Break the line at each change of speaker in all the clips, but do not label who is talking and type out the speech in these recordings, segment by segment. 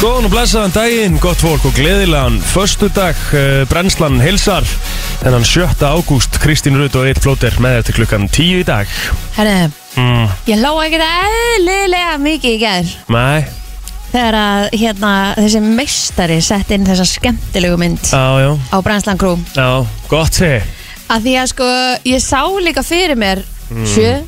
Góðan og blessaðan daginn, gott fólk og gleðilegan Föstudag, uh, brennslan hilsar Þennan 7. ágúst Kristín Rut og Eitt Flóter með þér til klukkan 10 í dag
Herðu,
mm,
ég hló ekki eðlilega mikið í gær
Nei,
þegar að hérna, þessi meistari sett inn þessa skemmtilegu mynd
já, já,
á Brænslan Crew
já, gott sé
að því að sko, ég sá líka fyrir mér
Hmm.
sjö,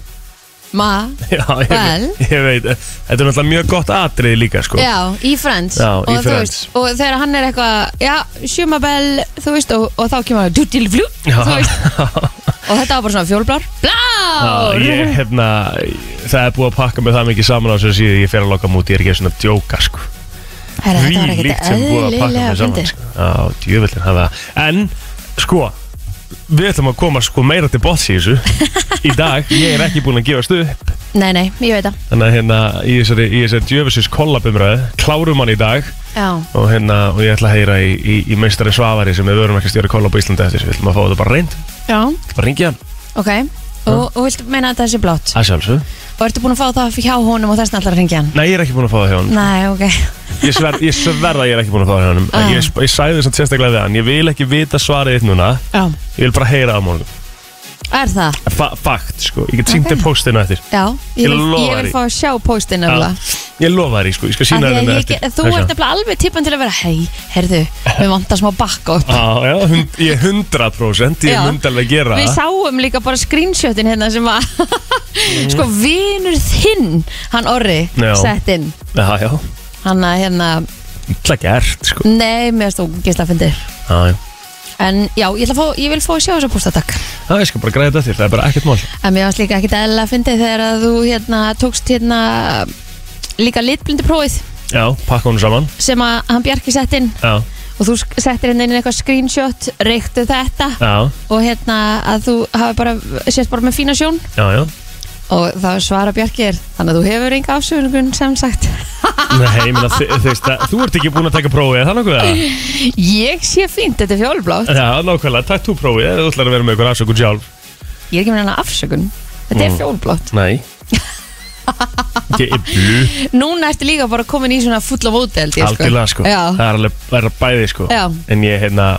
ma
Já, ég,
Vel.
ég veit Þetta er náttúrulega mjög gott atrið líka sko
já, í Friends
Já, í
og, þú
Friends.
veist, og þegar hann er eitthvað já, sjumabell, þú veist og, og þá kemur hann dudilflú
Já.
og þetta var bara svona fjólblár
Já,
blár
ég, hérna, það er búið að pakka mig það mikið saman á þessu síðu ég fer að loka múti, ég er ekki svona að djóka sko.
Herra, þetta var
Þvílíkt
ekkert
sem búið að pakka
eðlilega
mig saman
fyndið.
sko. Já, djöfullin hafa En, sko Við ætlum að koma sko meira til bots í þessu Í dag, ég er ekki búin að gefa stuð
nei, nei, ég veit það
Þannig að hérna, í þessari, í þessari djöfusins kollabumröð Klárum hann í dag
já,
Og hérna, og ég ætla að heyra í, í, í meistari Svavari Sem við vörum ekki að stjóra kollab á Íslandi eftir Við ætlum að fá þetta bara reynd,
já
bara ringja hann
Ok, og, og viltu meina að þetta sé blátt?
Það sjálfsög
Og ertu búin að fá það hjá honum og þess að hringja hann?
Nei, ég er ekki búin að fá það hjá hann
Nei, ok
Ég sver- ég sverða að ég er ekki búin að fá það hjá hann En
Ah.
ég, ég sæði þess að sérstaklega við hann Ég vil ekki vita svarið þitt núna
Já,
Ég vil bara heyra það á morgun
er það?
Fa Fakt, sko, ég get sínt okay.
Ok.
postinu eftir
Já,
Ég
ég vil,
lofa
ég vil
því.
fá að sjá póstinn nefnilega
Ég lofa þér, í, sko, ég skal
Af
sína
því að
þér
ég get- Þú ert nefnilega alveg tippan til að vera Hei, heyrðu, við vantar smá bakk upp
Já, já, hund, ég er 100% Ég
Já.
myndi alveg gera
Við
það
sáum líka bara screenshotin hérna sem var Sko, vinur þinn, hann orri,
Mm. Já.
sett inn
Já, já,
Hann að hérna,
illa gert, sko
nei, mér stók gæsla að fyndi
Já, já,
En já, ég, ætla að fá, ég vil fá að sjá þessa pósta, takk
já, ég skal bara græða þetta til Það er bara ekkert mál
En mér varst líka ekkert eðlilega að fyndi þegar að þú hérna, tókst hérna líka litblindi prófið
Já, pakka honum saman
sem að hann Bjarki sett inn
Já,
og þú sk- settir henni inn eitthvað screenshot, reyktu þetta
já,
og hérna að þú hafi bara sést bara með fína sjón
já, já
og þá svara Bjarki er þannig að þú hefur enga afsökunum sem sagt
Nei, ég meina, þi- þú veist það Þú ert ekki búin að taka prófið, er það nokkuð það?
Ég sé fínt, þetta er fjólblátt
Já, nákvæmlega, takk þú prófið ef Þú ætlar að vera með ykkur afsökun sjálf
Ég er ekki með hennar afsökun, þetta er
Mm.
fjólblátt
Nei Ég er blu
Núna ertu líka bara komin í svona fulla vóti held ég
Algjörlega sko,
Já,
það er alveg það er bæði sko
Já.
En ég hérna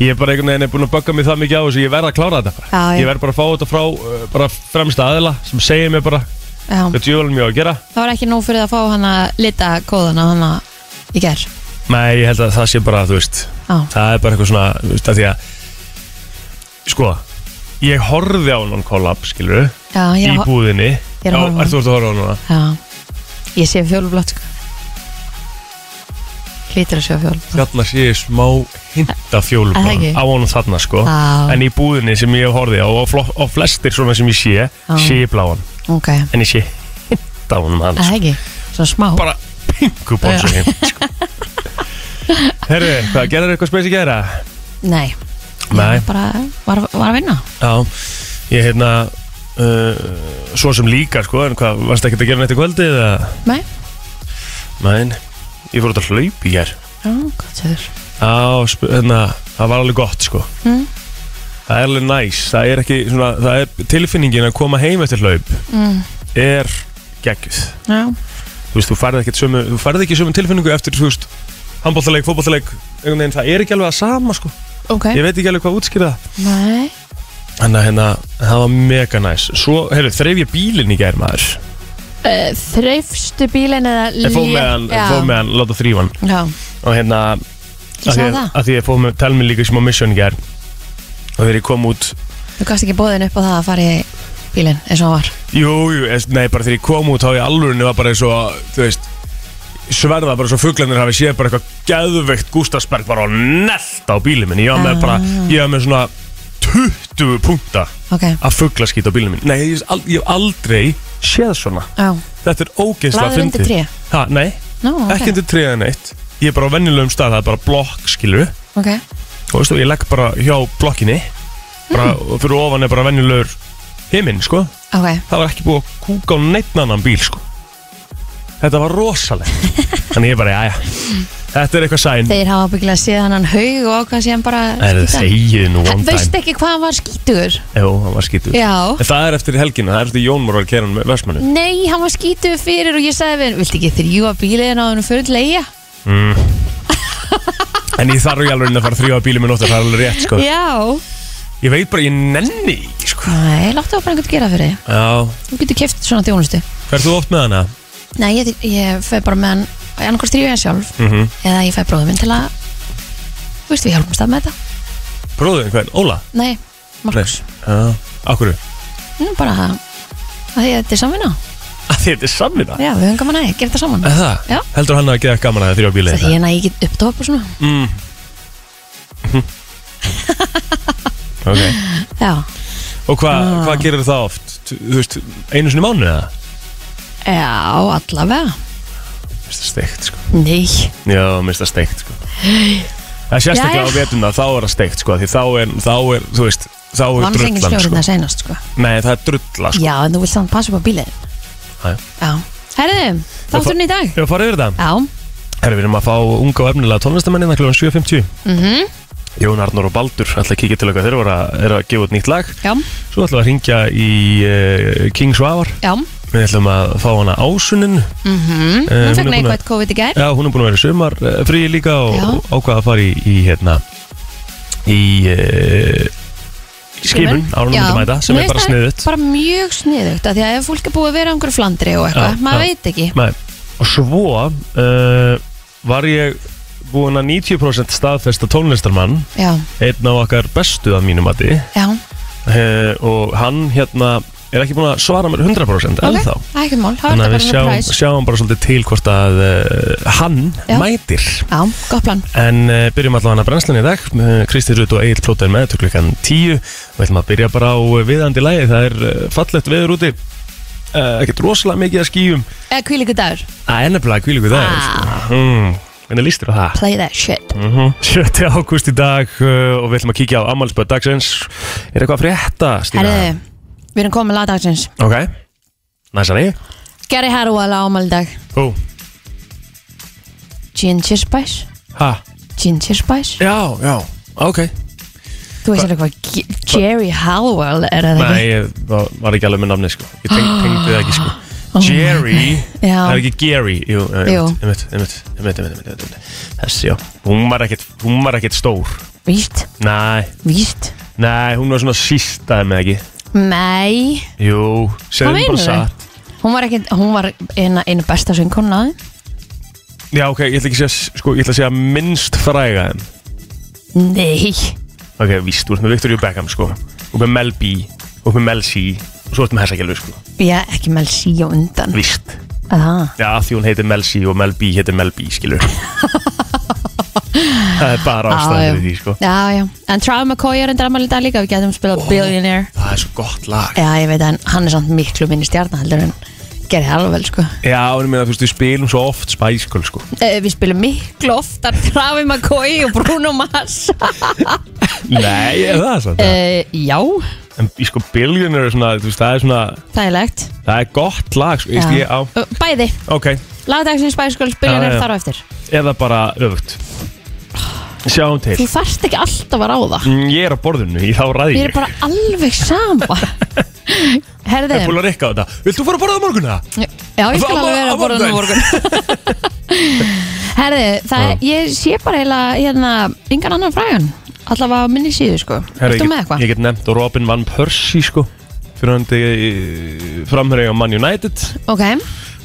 Ég er bara einhvern veginn búin að bögga mig það mikið á þessu Ég verð að klára þetta bara
Já, já.
Ég verð bara að fá þetta frá uh, bara fremsta aðila Sem segir mér bara
já.
hvað djúvölum ég á að gera
Það var ekki nóg fyrir að fá hann að lita kóðana hann að í gerð.
Nei, ég held að það sé bara, þú veist
Já.
Það er bara eitthvað svona, þú veist, að því að Sko Ég horfði á hann kollab, skilur
Já,
Í
ég er að horfa.
búðinni
Ég er að
Já,
horfa á
ert þú ert að horfa á hann núna?
Já, ég sé fjólublátt sko. Hlýtur að sjá fjólublátt.
þarna sé ég smá hinta
Er það ekki?
fjólublátt á honum þarna sko
Já.
en í búðinni sem ég horfði á og, flo- og flestir svona sem ég sé sé ég bláan
Ok, er
en ég sé hinta á honum hann
það
sko.
ekki? Svo smá.
bara pinkubón sem hint sko. Herru, hvað gerður eitthvað spes í gera?
Nei.
Nei.
Ég bara var, var að vinna.
Já, ég hérna uh, svo sem líka sko en hvað, varst ekki að gera neitt í kvöldi eða?
Nei.
Nein, ég fór út að hlaupi hér
Já, gott sér.
Já, sp- hérna, það var alveg gott sko
Mm.
Það er alveg næs Það er ekki, svona, það er tilfinningin að koma heim eftir hlaup
Mm.
er geggjuð
Já.
Þú veist, þú færði ekki sömu, þú færði ekki sömu tilfinningu eftir, þú veist, handbóltaleik, fótbóltaleik einhvern veginn, það er ekki alveg að sama sko
Ok.
Ég veit ekki alveg hvað útskýra það
Nei.
Þannig að hérna, það var mega næs Svo, heyrðu, þreif ég bílinn í gær maður
Uh, þreifstu bílinn eða lé...
Ég fóð með hann,
Já.
fóð með hann, láta þrýfa hann
Já,
Og hérna,
ég
að
sá
því,
það.
að því ég fóð með, tel mér líka í smá mission í gær Og þegar ég kom út
Þú gafst ekki bóðin upp á það að fara í bílinn eins og hann var.
Jú, jú, es- nei, bara þegar ég kom út þá í alvörinu var bara eins og, þú veist sverða bara svo fuglanir hafi séð bara eitthvað geðveikt Gustafsberg bara og neft á bílinn minn ég var með bara, ég var með svona 20 punta
Ah. Ok.
að fuglaskýta á bílinn minn Nei, ég, al- ég hef aldrei séð svona
Já.
Þetta er ógeðslega
Lagður undir
fyndið.
tré?
Ha, nei,
Nú, ok.
ekki undir tré en eitt Ég er bara á venjulegum stað, það er bara blokk, skilur
Ok.
og veistu, ég legg bara hjá blokkinni bara,
Mm.
og fyrir ofan er bara venjulegur himinn, sko
Ok.
það var ekki búið að kúka á neitt annan bíl sko. Þetta var rosalegt Þannig ég bara, jæja Þetta er eitthvað sæn
Þeir hafa byggilega séð hann haug og ákvað síðan bara
Er það þegið nú one
Veist
time
ekki hvað hann var skítugur
Jú, hann var skítur
Já.
En það er eftir helgina, það er eftir Jónmór var að kera hann með versmannu
Nei, hann var skítugur fyrir og ég sagði við hann Viltu ekki þrjúa bíliðin á hann fyrir til eiga?
Mm. En ég þarf í alveg að fara að þrjóða bílum í nótt Það er alveg rétt, sko
Já
Ég veit bara, ég nenni því ekki, sko
Nei, láttu það bara einhvern gera fyrir þig
Já,
Þú getur keft svona þjónustu
ferð þú oft með hana?
Nei, ég, ég fæ bara með hann annarkvæmst þrjú ég sjálf
Mm -hmm.
eða ég fæ bróðum minn til að Þú veist, við hjálpumst að með þetta
Bróðin, hvern? Óla?
Nei, Markus
Já, akkur
Nú bara að að því að þetta er samvinna
Þetta er samvinna
Já, við höfum gaman að því, gera þetta saman
Er Það?
Já.
Heldur hann að geða gaman að þrjóða bílum
Það er hérna ég get upptóp og svona
Mm. ok,
Já,
og hva,
Ah.
hvað gerir það oft? Þú þú veist, einu sinni í mánuði eða?
já allavega
Mér finnst það steikt, sko.
Nei,
Já, mér finnst það steikt, sko. Það sést ekki
Jæja.
á vetuna, þá er það steikt, sko, því þá er, þá er, þú veist, þá
það
er
var engin
drullan,
snjórið
sko.
það senast sko.
Nei, það er drulla, sko.
Já, en þú vilt samt passa upp á bílið
Já, já.
Já, herðu, þátturinn í dag
Ég var að fara yfir það.
Já,
Herra, við erum að fá unga og efnilega hérna tónlistamennina kl. 7.50.
mhm,
Jón Arnór og Baldur ætla að kíkja til okkar þeir eru að, eru að gefa út nýtt lag.
já,
Svo ætlum við að ringja í uh, King Svavar.
já
Við ætlum að fá hana ásunin Eh, hún
mhm, Hún
er
fekk
búin að-
neikvægt COVID í gær
Já, hún er búin að vera í sumar uh, frí líka
Já.
og ákvaða að fara í, í hérna í uh, skipun árunum
Já.
myndum mæta sem
Mér
er bara
finnst það
sniðut
Bara mjög sniðugt, af því að ef fólk er búið að vera á einhverju flandri og eitthvað,
Já, já.
maður veit ekki
Nei. og svo uh, var ég búin að 90% staðfesta tónlistarmann
Já,
einn af okkar bestu að mínum mati
já,
uh, og hann hérna er ekki búin að svara mér 100%
ok,
ennþá
það er ekkert mál, það er
þannig að við
þetta bara með
sjáum,
præs
sjáum bara svolítið til hvort að uh, hann
Já.
mætir
Já, gott plan,
En uh, byrjum allavega að brennslan í dag uh, Kristi Rut og Egil Plóter með til klukkan 10 og við ætlum að byrja bara á eh, viðandi lægi það er uh, fallegt veður úti uh, ekkert rosalega mikið að skýjum
eða kvílíku Eh, dagur
að ennabla kvílíku það er sko.
Ah,
mm, Hvernig lístur það?
Play that shit
Mm -hmm. 7. ágúst í dag uh, og við ætlum að kíkja á ammálspöð dagsins Er eitthvað að frétta, Stína?
Herðu, við erum komið lagdagsins
Ok, næsari
Gary Harwell á ámaldag
Ú,
Ginger Spice
ha,
Ginger Spice
já, já, ok
Þú veist alveg hvað G- Gary Harwell er það
Nei, ég var- var ekki alveg með namni sko Ég teng, tengdi það ekki sko
Oh my
Jerry,
Já.
það er ekki Gary Jú, eh,
Jú.
einmitt, einmitt, einmitt, einmitt, einmitt, einmitt, einmitt. Þessi, já, hún var ekkert Hún var ekkert stór
Víst,
Nei,
víst
nei, hún var svona sístaði með ekki
Nei,
Jú, segðum
meinarðu?
bara satt
hún var ekki Hún var eina, eina besta söngkona
Já, ok, ég ætla ekki að segja, sko, ég ætla að segja minnst fræga þeim
Nei
Ok, víst, þú ert með Victoria Beckham, sko Og með Mel B, og með Mel C Og svo ert með Hessakjálfi, sko,
Já, ekki Mel C á undan
víst
Það
Já, því hún heitir Mel C og Mel B heitir Mel B, skilur Það er bara ástæðið fyrir því, sko
Já, já En Trav McCoy er endur ammali dag líka Við getum spilað Billionaire
Það er svo gott lag
Já, ég veit að hann- hann er samt miklu minni stjarnaheldur en Gary Harwell, sko
Já, en ég meina, þú veist, við spilum svo oft Spice Girls, sko
Eh, Við spilum miklu oftar Travi McCoy og Bruno Mars
Nei, er það svo
uh, Já,
En í sko, Billionaire er svona, þú veist, það er svona
þægilegt
Það er gott lag, sko, veist,
Já.
ég á
Ö, Bæði,
Ok,
lagdagsins bæðskóls byrjar
Já, já.
þar á eftir
eða bara öfugt Sjáum til
Þú þarft ekki alltaf að ráða
Mm, Ég er á borðinu, ég þá ræði
Mér er bara alveg sama
Ég er búin
Herði
að rikka á þetta Vilt þú fara að borða á morgunna?
Já, ég skal
Það-
alveg vera
á
að borða nú morgun
morgun.
Herði, það, ég sé bara eiginlega hérna, engan annan frægan Allavega á minni síðu, sko
Herra,
Ertu
ég
með
get-
eitthvað?
Ég get nefnt Robin Van Persie sko Fyrirhandi framherja á Man United
Ok,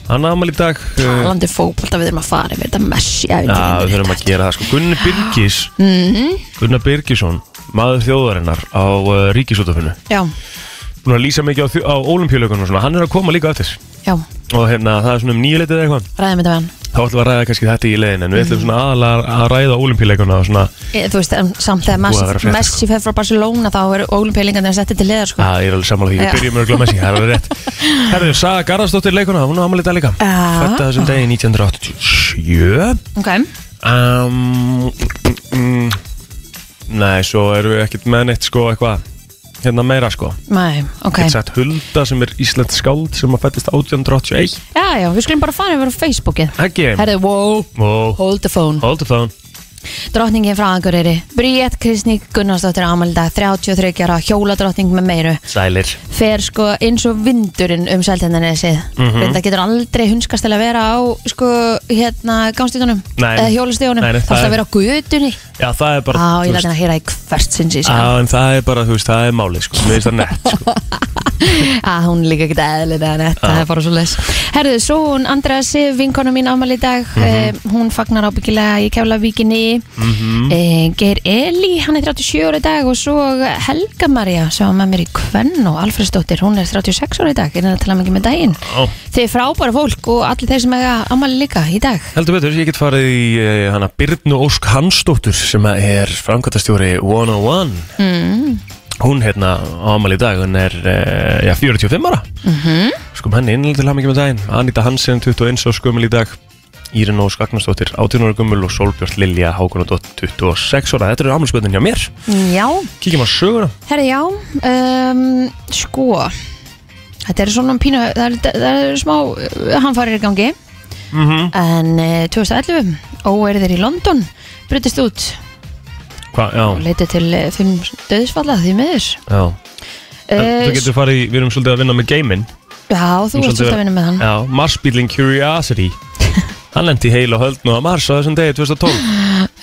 Hann aðmæl í dag uh,
talandi um fókbólta við erum að fara Við erum að messi að
Já, við þurfum að gera það sko Gunni Birgis
Mhm.
Gunnar Birgisson Maður þjóðarinnar á uh, ríkisútafinu
Já,
Búin að lýsa mikið á, þjó- á olimpíuleikunum og svona Hann er að koma líka eftir
já,
Og hérna, það er svona um nýjuleitið eða eitthvað
ræðum þetta með hann
Þá ætlum við að ræða kannski þetta í leiðin En við ætlum svona aðalega að ræða olimpíuleikuna og svona
Ég, þú veist, en samt þegar
Búið að vera frétt,
Messi,
sko.
Messi fer frá Barcelona þá eru ólimpílingarnir að setja til liðar sko.
Það Ah, er alveg sammála því,
Já.
við byrjum örgulega með sér, það er alveg rétt Herðu, Saga Garðarsdóttir leikuna, hún á amalita líka
Já.
Fætta þessum degi 1987
Ok,
mm. um, mm, Nei, svo erum við ekkert með neitt sko eitthvað hérna meira sko
Nei, ok
Eitt sett Hulda sem er Íslands skáld sem að fættist 1881
Já, já, við skulum bara fara yfir á Facebookið
Ekki
Herðu, wow,
Ó,
hold the phone
Hold the phone
Drottningin frá Akureyri Bríett Kristný Gunnarsdóttir Amalda 33 ára hjóladrottning með meiru
Sælir
fer sko eins og vindurinn um seltendanesið mm
Mhm.
-hmm. þetta getur aldrei hunskast til að vera á sko hérna gangstíðunum
Nei.
eða hjólastíðunum
Nei, nei,
þá
það
ætla
er-
að vera á gutunni
Já, það er bara
á
þú
ég sko.
veist,
lætina að hýra í hvert sinn síðan
Já, en það er bara, þú veist, það er málið sko Mér finnst það nett sko
að Ah, hún er líka ekkert eðlilega nett það er bara svo les herðu, svo hún Andrea Sif, vinkona mín ámali í dag eh, hún fagnar ábyggilega í Keflavíkinni
Mhm.
Mm.
eh, Geir Eli, hann er 37 ára í dag og svo Helga Maria sem var með mér í Kvenn og Alfredsdóttir hún er 36 ára í dag, er það að tala mikið með daginn
Ó.
þið er frábæra fólk og allir þeir sem eiga ámali líka í dag
Heldur betur, ég get farið í uh, hana Birnu Ósk Hansdóttur sem að er framkvæmtastjóri 101 mm. Hún hérna ámali í dag, hún er uh, já, 45 ára mm -hmm. Skum henni innlega til hamingi með daginn Anita Hansen, 21 og skumul í dag Írin Ósk Agnarsdóttir, 18 ára gummul og Solbjörn Lilja Hákonadóttir, 26 ára Þetta eru ámalisböndin hjá mér
já,
Kíkjum á söguna
herðu já um, sko þetta er svona pínu það er, það er smá eh, hamfarir í gangi
mm -hmm.
En eh, 2011, óerðir í London brutist út
Hva, Já,
og leitið til eh, fimm döðsfalla því miður
já
Eh,
Þú getur farið í, við erum svolítið að vinna með geiminn
s- Já,
Nú
þú varst
svolítið-
alltaf að vinna með hann
Já, Marsbílinn Curiosity Hann lendi í heil og höldn og að Mars á þessum degi 2012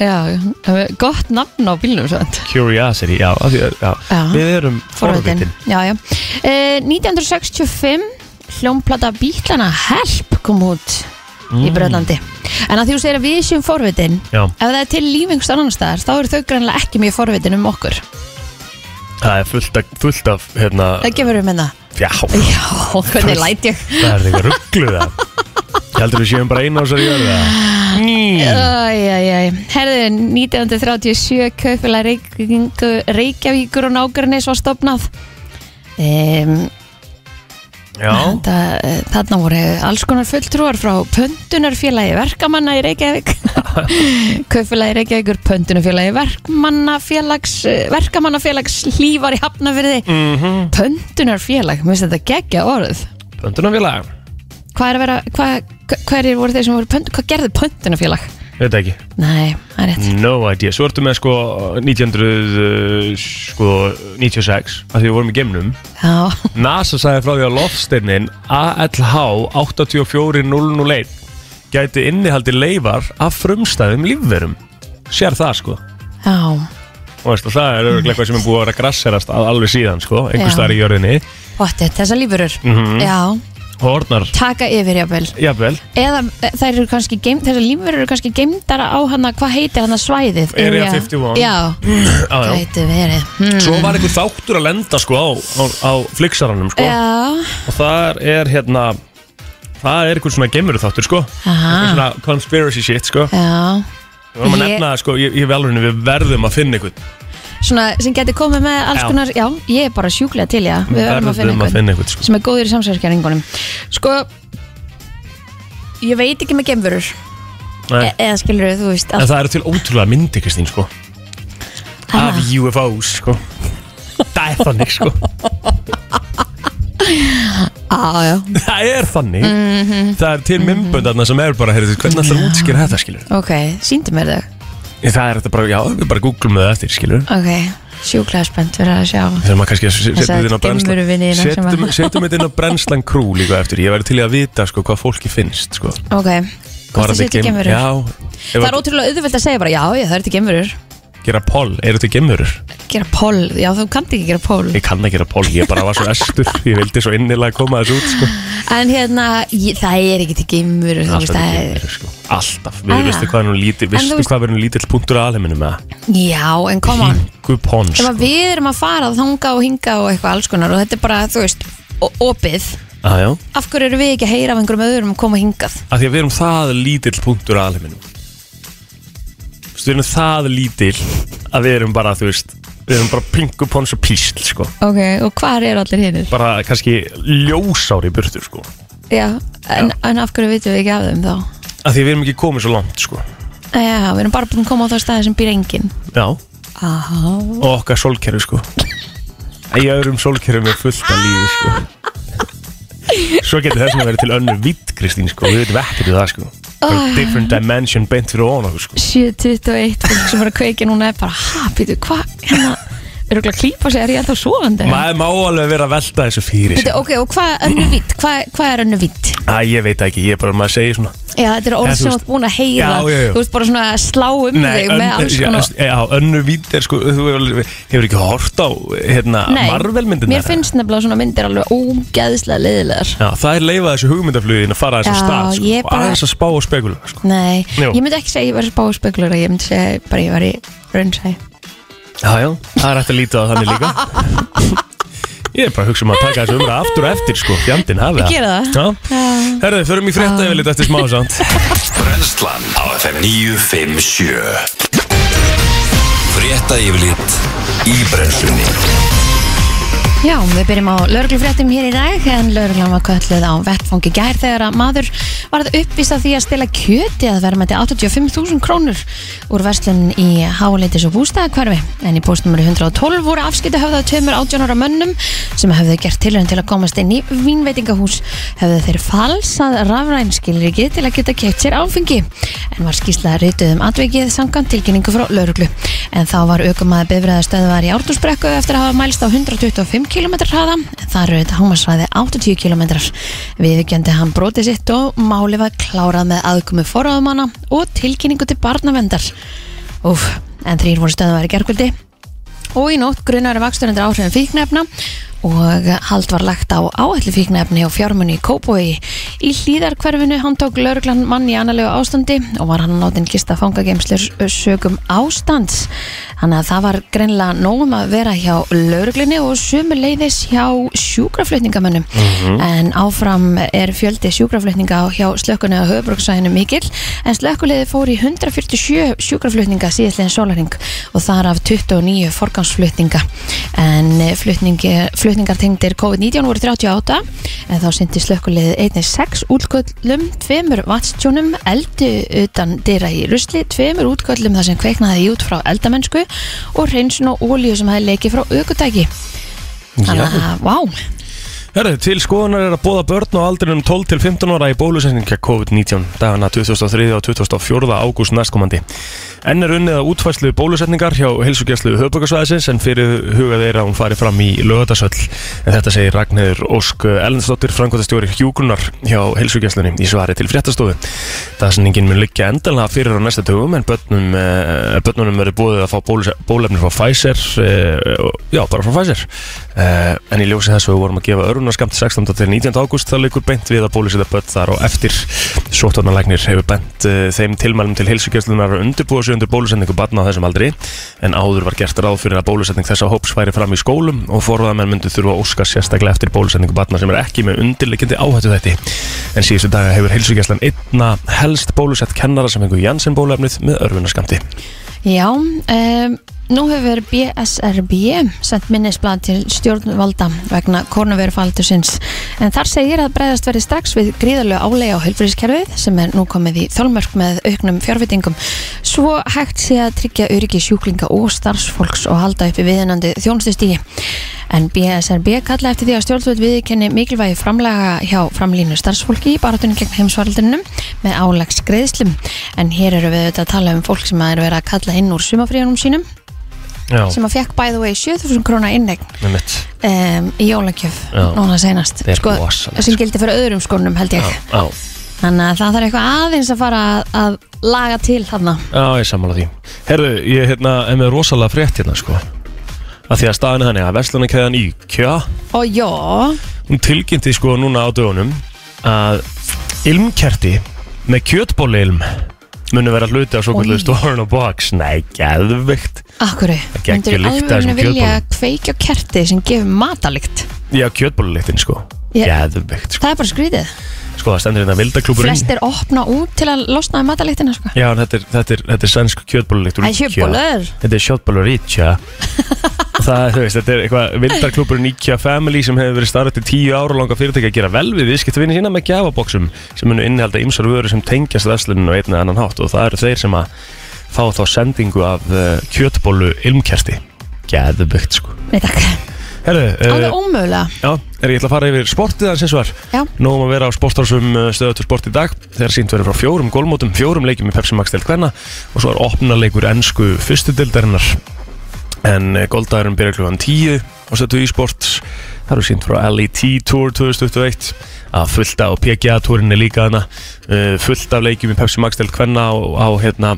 Já, eh, gott nafn á bílnum svo þetta
Curiosity, já, af því að- já.
Já.
Við erum forvitin
Já, já eh, 1965 hljómplata bílana Help kom út í Bröðlandi En að því þú segir að við séum forvitin
Mm. Já,
Ef það er til lífengst annan staðar, þá eru þau grannlega ekki mjög forvitin um okkur.
það er fullt af, fullt af hérna,
Það gefur um við minna.
já,
Já, hvernig læt ég?
það er eitthvað ruggluð það Heldur við séum bara eina á þessari jörðu það mm.
Æjæjæj, herðu 1937 kaupfélag Reykjavíkur, Reykjavíkur og nágrinnis var stopnað um,
Já,
eh, Þarna voru alls konar fulltrúar frá Pöndunarfélagi verkamanna í Reykjavík Kaupfélagi Reykjavíkur, Pöndunarfélagi verkamannafélags, eh, verkamannafélags hlývar í hafnafyrði
mm -hmm.
Pöndunarfélag, mér finnst þetta geggja orð
pöndunarfélag
Hvað er að vera, hvað, hverjir voru þeir sem voru pönd, hvað gerði Pöndunarfélag?
Veit ekki,
Nei, það er rétt
no idea Svo ertu með sko 1996 sko, 96, af því við vorum í geimnum
Já
NASA sagði frá því að loftsteinin ALH 84001 gæti innihaldi leifar af frumstæðum lífverum sér það sko
Já,
og veist, og það er auðvitað eitthvað sem er búið að vera grasserast að alveg síðan sko, einhvers
Já.
staðar í jörðinni Mhm.
pottet, þessar lífurur Já,
hornar,
taka yfir jáfnvel
jafnvel
Eða e, þær eru kannski geim, þessar lífurur eru kannski geimdar á hana, hvað heitir hana svæðið?
Area
Area-
51.
Já,
á, já.
gæti verið hm.
Svo var einhver þáttur að lenda sko á, á, á flyksarannum sko
Já,
og þar er hérna það er einhver svona gemuru þáttur sko Einhver
aha
svona conspiracy shit sko
Já,
við varum að
Ég-
nefna það sko, ég, ég velurinn við verðum að finna einhvern
svona sem geti komið með alls
Já.
konar Já, ég er bara sjúklega til, já Við verðum að
verðum
finna
að
einhvern
finna einhvern sko.
sem er góður í samsverkjaringunum Sko Ég veit ekki með geimverur
Nei.
e Eða skilur þú veist
En það eru til ótrúlega myndi, Kristín, sko Af
hana.
UFOs, sko Það er þannig, sko
Á, já, Mhm.
Það er þannig Það er til mymböndarna sem er bara, heyrðu, hvernig ætlar að útskýra þetta, skilur
ok, síndu mér þau
Það er þetta bara, já, við bara googlum það eftir, skilur
Ok, sjúklega spennt fyrir að sjá
Þegar maður kannski að setja
Þessa
þetta inn á
geimveruvinina sem
brennslan
að-
Setjum- Setjum þetta inn á brennslan krú líka eftir Ég væri til í að vita, sko, hvað fólki finnst, sko
Ok, hvort það
Varðandi
séu til
geim-
gemurur
Já, ef
Það er
að
ótrúlega auðvöld að segja bara já, já, það eru til gemurur
gera poll, eru þetta gemurur?
Gera pól, já þú kannt ekki gera pól
Ég kann að gera poll, ég bara var svo estur Ég vildi svo innilega koma þessu út, sko
En hérna, ég, það er ekki til gemurur Þú
Alltaf
veist, það
ekki
er
meira sko Alltaf, við
Ah.
veistu hvað er nú lítill Vistu
veist-
hvað verður nú lítill punktur að alheiminu með það
Já, en koma on
Pingu pons
Ef að við erum að fara að þanga og hinga og eitthvað alls konar og þetta er bara, þú veist, o- opið
ah, já.
Af hverju eru við ekki að heyra af einhverjum öðrum að koma hingað?
Af því að við erum það lítill punktur að alheiminu Vistu, við erum það lítill Að við erum bara, þú veist Við erum bara pingu pons og písl sko
Ok, og hvar eru allir hinnir?
Bara kannski ljósári burtur sko
Já, en, en af hverju vitum við ekki af þeim þá?
Af því að við erum ekki komið svo langt sko
Já, við erum bara búin að koma á þá staði sem býr enginn
Já,
Aha.
og okkar sólkerfi sko Í öðrum sólkerfum er fullt af lífi sko. Svo getur þess að vera til önnu vitt Kristín sko, við veitum ekkert um það sko Bara
Ah.
different dimension beint fyrir ofan okkur sko
7.21 fólk sem var að kveiki núna er bara ha, býtu, hvað, hérna er okkur að klípa sig, er ég ennþá svoandi
Maður má alveg vera að velta þessu fyrir
Býtu,
sér
ok, og hvað er önnu vitt, hvað, hvað er önnu vitt
Æ, ég veit það ekki, ég er bara maður að segja svona
já, þetta er
Eða,
orð
þú
sem þú
veist-
ert búin að heyra
Já, já, já.
þú ert bara svona að slá um þig með alls konar
já, já, önnu vitt er sko, þú hefur, hefur ekki hort á hérna, Marvel-myndina
mér finnst nefnilega svona myndir alveg ógeðslega leiðilegar
Já, það er leifað þessu hugmyndaflugin að fara þess
Já,
að stað sko,
ég
og
bara-
aðeins að spá og spekula sko.
Nei,
Jú.
ég myndi ekki segja að ég væri spáspekulera, ég myndi segja bara ég væri raunsæ.
Já, já, það er hægt að líta á þannig líka Ég er bara að hugsa um að taka þessu umra aftur og eftir sko, fjandinn hafi
Ég gera það.
Já, herðu, förum í frétta yfirlit eftir smá samt
Brenslan á FM 957 Frétta yfirlit í brennslunni
Já, við byrjum á lauruglufréttum hér í dag en lauruglan var kölluð á vettfangi gær þegar að maður varð uppvist af því að stila kjöti að vera með til 85.000 krónur úr verslun í háleitis og bústæðakverfi en í bústnumri 112 voru afskipti höfðað tömur 18 ára mönnum sem höfðu gert tilhörn til að komast inn í vínveitingahús höfðu þeir falsað rafrænskilriki til að geta keitt sér áfengi en var skýrslega rituð um atvikið samkant tilkynningu frá lauruglu en þá var aukumæði bifræðastöðvar í Ártúsbrekku eftir að hafa mælst á 125 km hraða þar eru þetta hámasræði 80 km viðkjöndi hann brotið sitt og máli var klárað með aðkomi forraðumanna og tilkynningu til barnavendar Úf, en þrýr voru stöðvar í gerkvöldi og í nótt grunar vakstur undir áhrifin fíknefna og hald var lagt á áætli fíknefni og fjármunni í Kópói í hlýðarkverfinu hann tók lauruglan mann í annarlegu ástandi og var hann látinn kista fangageimslur sögum ástands þannig að það var greinlega nógum að vera hjá lauruglinni og sömu leiðis hjá sjúkraflutningamönnum en áfram er fjöldi sjúkraflutninga hjá slökkunni á höfubrukssæðinu mikill en slökkuleiði fór í 147 sjúkraflutninga síðastlegin sólaring og þar af 29 forgangsflutninga en eh, flutningi, flutningar tengdir COVID-19 voru 38 en þá syndi slökkuleiði einnig 6 útköllum, 2 vatstjónum eldi utan dyra í rusli 2 útköllum þar sem kveiknaði í út frá eldamennsku og reynsun og ólíu sem hefði leikið frá aukutæki þannig að, vá,
Herðu, til skoðunar er að bóða börn á aldrinum 12 til 15 ára í bólusetninga COVID-19 dagana 2003 og 2004 ágúst næstkomandi. Enn er unnið að útfæslu bólusetningar hjá helsugjastlu höfbökkarsvæðisins en fyrir hugað er að hún fari fram í lögatarsöll. En þetta segir Ragnhildur Ósk Ellensdóttir, framkvæmtastjóri hjúgrunar hjá helsugjastlunni í svari til fréttastofu. Dagsetningin mun liggja endalega fyrir á næsta tögum en börnum, eh, börnunum verður búið að fá bólus- bólefni frá Pfizer, eh, og- já bara frá Pfizer. Eh, En í ljósi þess að við vorum að gefa örunarskamt 16. til 19. ágúst þá leikur beint við að bólusetja börn þar og eftir sóttvarnalæknir hefur bent uh, þeim tilmælum til heilsugjöflunar að undirbúa sig undir bólusetningu barna á þessum aldri en áður var gert ráð fyrir að bólusetning þessa hóps væri fram í skólum og forðamenn myndu þurfa að óska sérstaklega eftir bólusetningu barna sem er ekki með undirleikindi áhættu þætti en síðustu daga hefur heilsugjöflan einna helst bólusett kennara sem fengu Janssen bólefnið með örfunarskampti
Já, um, nú hefur BSRB sendt minnisblad til stjórnvalda vegna kornuverufaldusins en þar segir að breyðast verið strax við gríðarlega álega á helfrískerfið sem er nú komið í þólmörk með auknum fjárvitingum svo hægt sé að tryggja öryggi sjúklinga og starfsfólks og halda uppi viðinandi þjónustustígi en BSRB kalla eftir því að stjórnvöld viðkenni mikilvægi framlega hjá framlínu starfsfólki í baratunum gegn heimsvaraldunum með álags greiðslum en hér eru við auðvitað að tala um fólk sem að er verið að kalla inn úr sumafríðunum sínum
Já,
sem að fekk by the way 7000 krónar innegn
Eh,
með mitt
um, í jólagjöf
Já.
núna seinast Sko,
Þetta er rosalegt,
sem gildi fyrir öðrum skónum held ég
Já,
þannig að það þarf eitthvað aðeins að fara að, að laga til þarna
Já, ég sammála því Herðu, ég hérna, er með rosalega frétt hérna sko að því að staðan er þannig að verslunarkæðan IKEA
og já,
hún tilkynnti sko núna á dögunum að ilmkerti með kjötbólilm munu vera hluti á svo
Oj.
kvöldu Storn og Box Nei, geðvikt
akkurri
geggjur lykt af þessum
vilja
kjötbollum.
kveikja á kerti sem gefur matalikt
Já, kjötbóluliktin sko
Ég-
Geðvikt sko
það er bara skrítið
Sko, það stendur hérna vildaklúburinn
flestir opna út til að losna um mataliktina sko.
Já, en þetta er, þetta er, þetta er svensk kjötbólulikt úr
Æ, kjötbollur.
Þetta er kjötbólur IKEA Það, þú veist, þetta er eitthvað vildarklúburinn IKEA Family sem hefur verið starfið til tíu ára langa fyrirtæki að gera vel við viðskiptvinni sína með gjafaboksum sem munu innihalda ymsar vöru sem tengjast versluninu á einn eða annan hátt og það eru þeir sem að fá eh, þá sendingu af uh, kjötbólu ilmkerti Geðubugt, sko
Nei, takk.
Herðu, eh,
Alveg ómögulega
Já, er ég ætla að fara yfir sportið þar sem svar
Já.
Nóum að vera á sportstofsum stöðatur sport í dag Þegar sínt verður frá fjórum gólmótum, fjórum leikjum í Pepsi Max til hvenna Og svo er opnarleikur ennsku fyrstu dildarinnar En góldagurinn byrjar klukkan 10 á stöðu í sport Það eru sínt frá LET Tour 2021 að fullt af PGA Tourinni líka hana uh, Fullt af leikjum í Pepsi Max til hvenna á, á, hérna,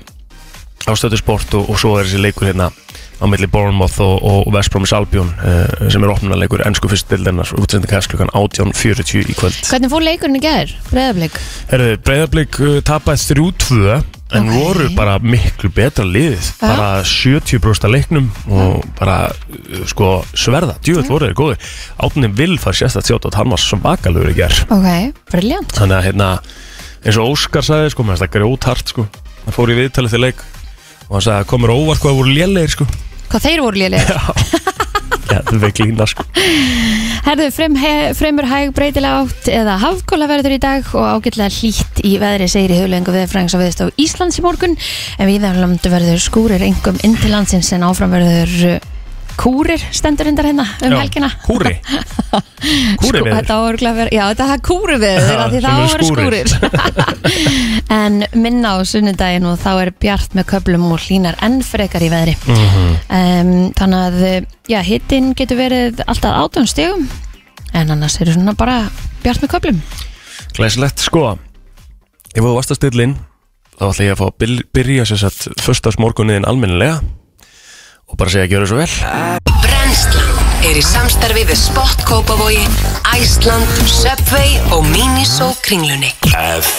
á stöðu sport og, og svo er þessi leikur hérna á milli Bournemouth og, og West Bromwich Albion uh, sem er opnuleikur ennsku fyrstildinnar útsendin kæðs klukkan 18.40 í kvöld
Hvernig fór leikurinn í gær? Breiðablik
Herðu, Breiðablík uh, tapaði 3-2 en
Ok.
voru bara miklu betra liðið
Já.
bara 70% af leiknum og bara uh, sko sverða, djúvöld voru þeir góði Átni Vilfar sérstætt sjátt að hann var svakalur í ger
Ok, briljant
þannig að hérna eins og Óskar sagði sko, mér finnst það grjóthart sko hann fór í viðtalið til leik og hann sagði að komur óvart hvað þeir voru lélegir sko
Hvað þeir voru lélir
Já, það er glína sko
Herðu, frem, he, fremur hæg breytilega átt eða hafkóla verður í dag og ágætlega hlýtt í veðri segir í huglengu viðfræðings og viðst á Íslands í morgun en viðanlönd verður skúrir engum inn til landsins en áfram verður uh, kúrir stendur undar hérna um
Já,
helgina
Kúri Kúri
Skú-
veður
Sko, Þetta á örugglega að vera, já þetta er kúri veður
Já,
því
sem
þá
eru
er skúrir En minna á sunnudaginn og þá er bjart með köplum og hlínar enn frekar í veðri
Mhm.
um, Þannig að, já, hittin getur verið alltaf átjón stegum En annars eru svona bara bjart með köplum
Glæsilegt sko Ef þú varst að stilla inn Þá ætla ég að fá að byl- byrja sér satt Föstas morgunniðin almennilega Og bara segja að gjöra svo vel
Brennslan er í samstarfi við Spott Kópavogi, Æsland, Subway og Miniso kringlunni.
F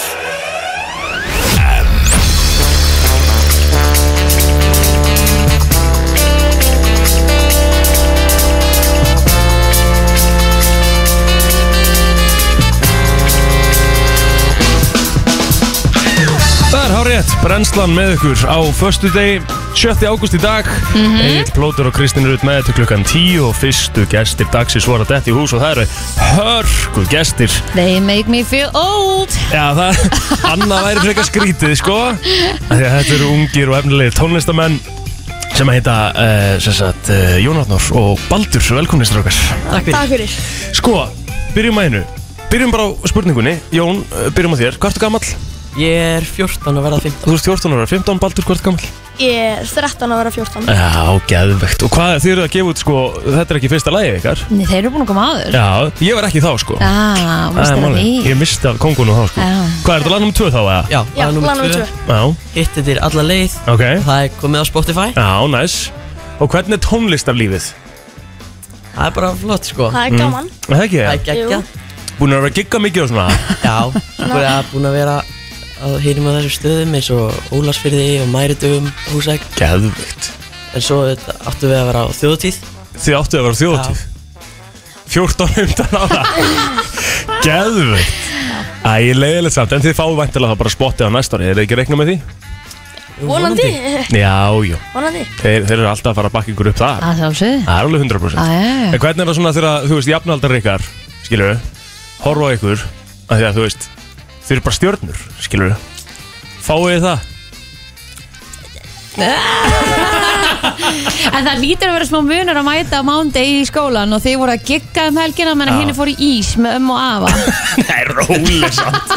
Það er hárétt, brennslan með ykkur á förstu degi, 7. ágúst í dag mm -hmm. Egil Plótur og Kristín Rut með þetta klukkan 10 og fyrstu gestir dagsins voru að detta í hús og það eru hörku gestir
They make me feel old
Já, það, annað væri frekar skrítið, sko Af Því að þetta eru ungir og efnilegir tónlistamenn sem að heita, uh, sem sagt, uh, Jónatnór og Baldur, velkomni strákar Takk fyrir
Takk fyrir
Sko, byrjum að einu Byrjum bara á spurningunni, Jón, uh, byrjum á þér Hvað ertu gamall?
Ég er 14 að verða 15
Þú ert 14 ára, 15, Baldur, hvað ertu gamall?
Ég er 13 að vera 14
Já, geðvegt Og hvað, þið eruð að gefa út, sko, þetta er ekki fyrsta lagið ykkar
Nei, þeir eru búin að koma aður
Já, ég var ekki þá, sko
Já,
Það er
mæstur að
málið.
því
Ég misti af kongunu þá, sko
Já.
Hvað er þetta lag nr. 2 þá, eða?
Já,
Já, lanum við
tvö.
tvö
Já,
Hittir þér alla leið
ok
Það er komið á Spotify
Já, næs Og hvernig er tónlist af lífið?
Það er bara flott sko
Það er gaman
Mm. Er Það ekki,
Það er geggja
búin að vera að gigga mikið og svona
Já, það er búin að vera að hýrum á þessum stöðum eins og Ólarsfyrði og Mæritum, Húsæk
Gæðvikt
En svo þetta, áttum við að vera á þjóðutíð
Þið áttu að vera á þjóðatíð 14-15 ára Gæðvikt Æ, ég leiðilegt samt En þið fáu væntilega það bara spottið á næsta ári Þeir ekki reikna með því?
Vonandi
Já, jú
Vonandi
Þeir, þeir eru alltaf að fara að bakka ykkur upp þar
Það sjálfsögðu
Það er alveg 100%
Ah, Já, já, já.
En hvernig er það svona þegar, þú veist, jafnaldar ykkar Skilur Horfa á ykkur af Því að þú veist Þið eru bara stjörnur, skilur Fáu þið það?
En það lítur að vera smá munur að mæta á mándegi í skólan og þið voru að gigga um helgina menn að henni fór í ís með ömmu og afa
Nei, róleg samt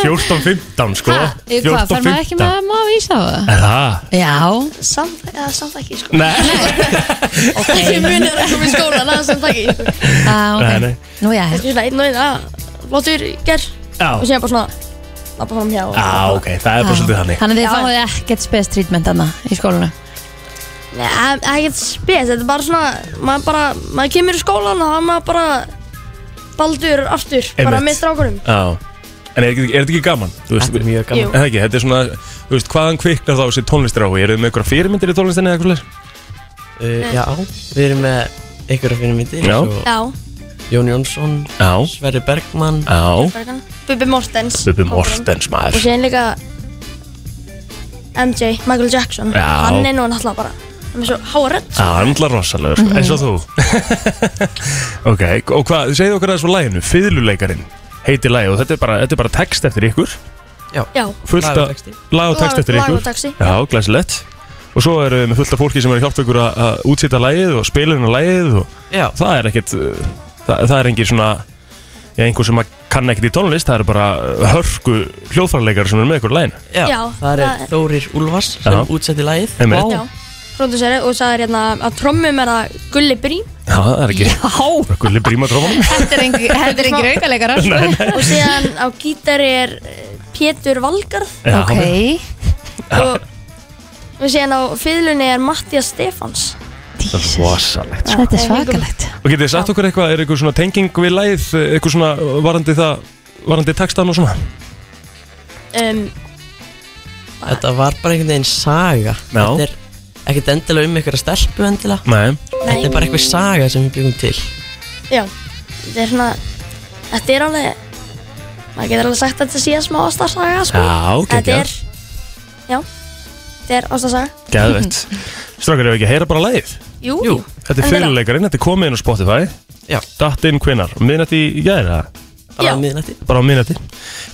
14-15 sko
Í Hvað, fær maður ekki með ömmu og afa í ís á það?
Er það?
Já,
Samt, eða samt ekki sko
Nei
Ég munir að koma í skóla Það er samt ekki sko.
ah, ok
Nei, nei.
Nú já,
Ég er einn og einn að Flottur ger Og
Já,
síðan bara svona Lappa fram hjá og-
Já, ok, það er bara svolítið þannig
Ah. þannig að þið
Já.
fáið ekkert spes treatment anna í skólanu
Nei, það er Eh, ekkert spes Þetta er bara svona Maður bara Maður kemur í skólan Og það er maður bara Baldur aftur Bara
Einmitt.
með strákunum
Já En er, ekki- er þetta ekki gaman? Þú veist,
Þetta er mjög
Jú.
gaman
Er það ekki, þetta er svona, þú veist, hvaðan kviknar þá þessi tónlistráhu? Eru þið með einhverja fyrirmyndir í tónlistinni eða eitthvað slags?
uh, Já, við erum með ykkur að finna myndir
Já.
Já
Jón Jónsson,
Já
Sverri Bergmann
Já
Bergan. Bubbi Mortens
Bubbi
Hópurinn.
Mortens
Og
maður
síðan líka MJ Michael Jackson
Já.
Hann er nú náttúrulega bara Hann er svo háarödd
Já, andla rosalegur, sko, eins og þú Ok, og hvað, segðu okkur aðeins frá læginu Fyðluleikarin heitir lægi og þetta er bara, þetta er bara text eftir ykkur
Já,
Já
fullt
Lag og
af
texti.
lag og text
Lag-
eftir
lag og
ykkur
texti.
Já, glæsilegt og svo eru við með fullt af fólki sem er að hjálpa ykkur að, að útsýta lægið og spila hérna lægið og
Já,
það er ekkert uh, það, það er engin svona Já, einhver sem að kann ekkert í tónlist, það eru bara uh, hörku hljóðfærarleikar sem eru með ykkur lægin
já,
Já,
það
það
er
er-
Þórir Úlfars sem
Já.
útsetti lagið
Einmitt.
Vá.
já Pródúseri og það er hérna að trommum er að Gulli Brím
Já, það er ekki
Já,
Gulli Bríma trófanum
þetta er engi- þetta er engir aukaleikarar sko.
og síðan á gítari er eh, Pétur Valgarð
Ok,
og, og síðan á fiðlunni er Mattias Stefans
Svasalegt
þetta er svakalegt
Og getið þið sagt okkur eitthvað, er eitthvað svona tenging við lægið Eitthvað svona varandi það, varandi textan og svona
um,
Þetta var bara einhvern veginn saga
Já.
Þetta er ekkert endilega um einhverja stelpu endilega
Nei
Þetta er bara eitthvað saga sem við byggum til
Já, þetta er svona Þetta er alveg maður getur alveg sagt að þetta sé að smá ástarsaga sko.
Já, ok,
Þetta
já.
er Já, þetta er ástarsaga
Gæðvegt Strákar, ef ekki að heyra bara lægið
Jú,
Jú,
Þetta er
Endilega.
fyrirleikarinn, þetta er komið inn á Spotify
Já.
Datt inn hvenar, minnætti í gæðra
bara
Já.
á miðnætti
Bara á minnætti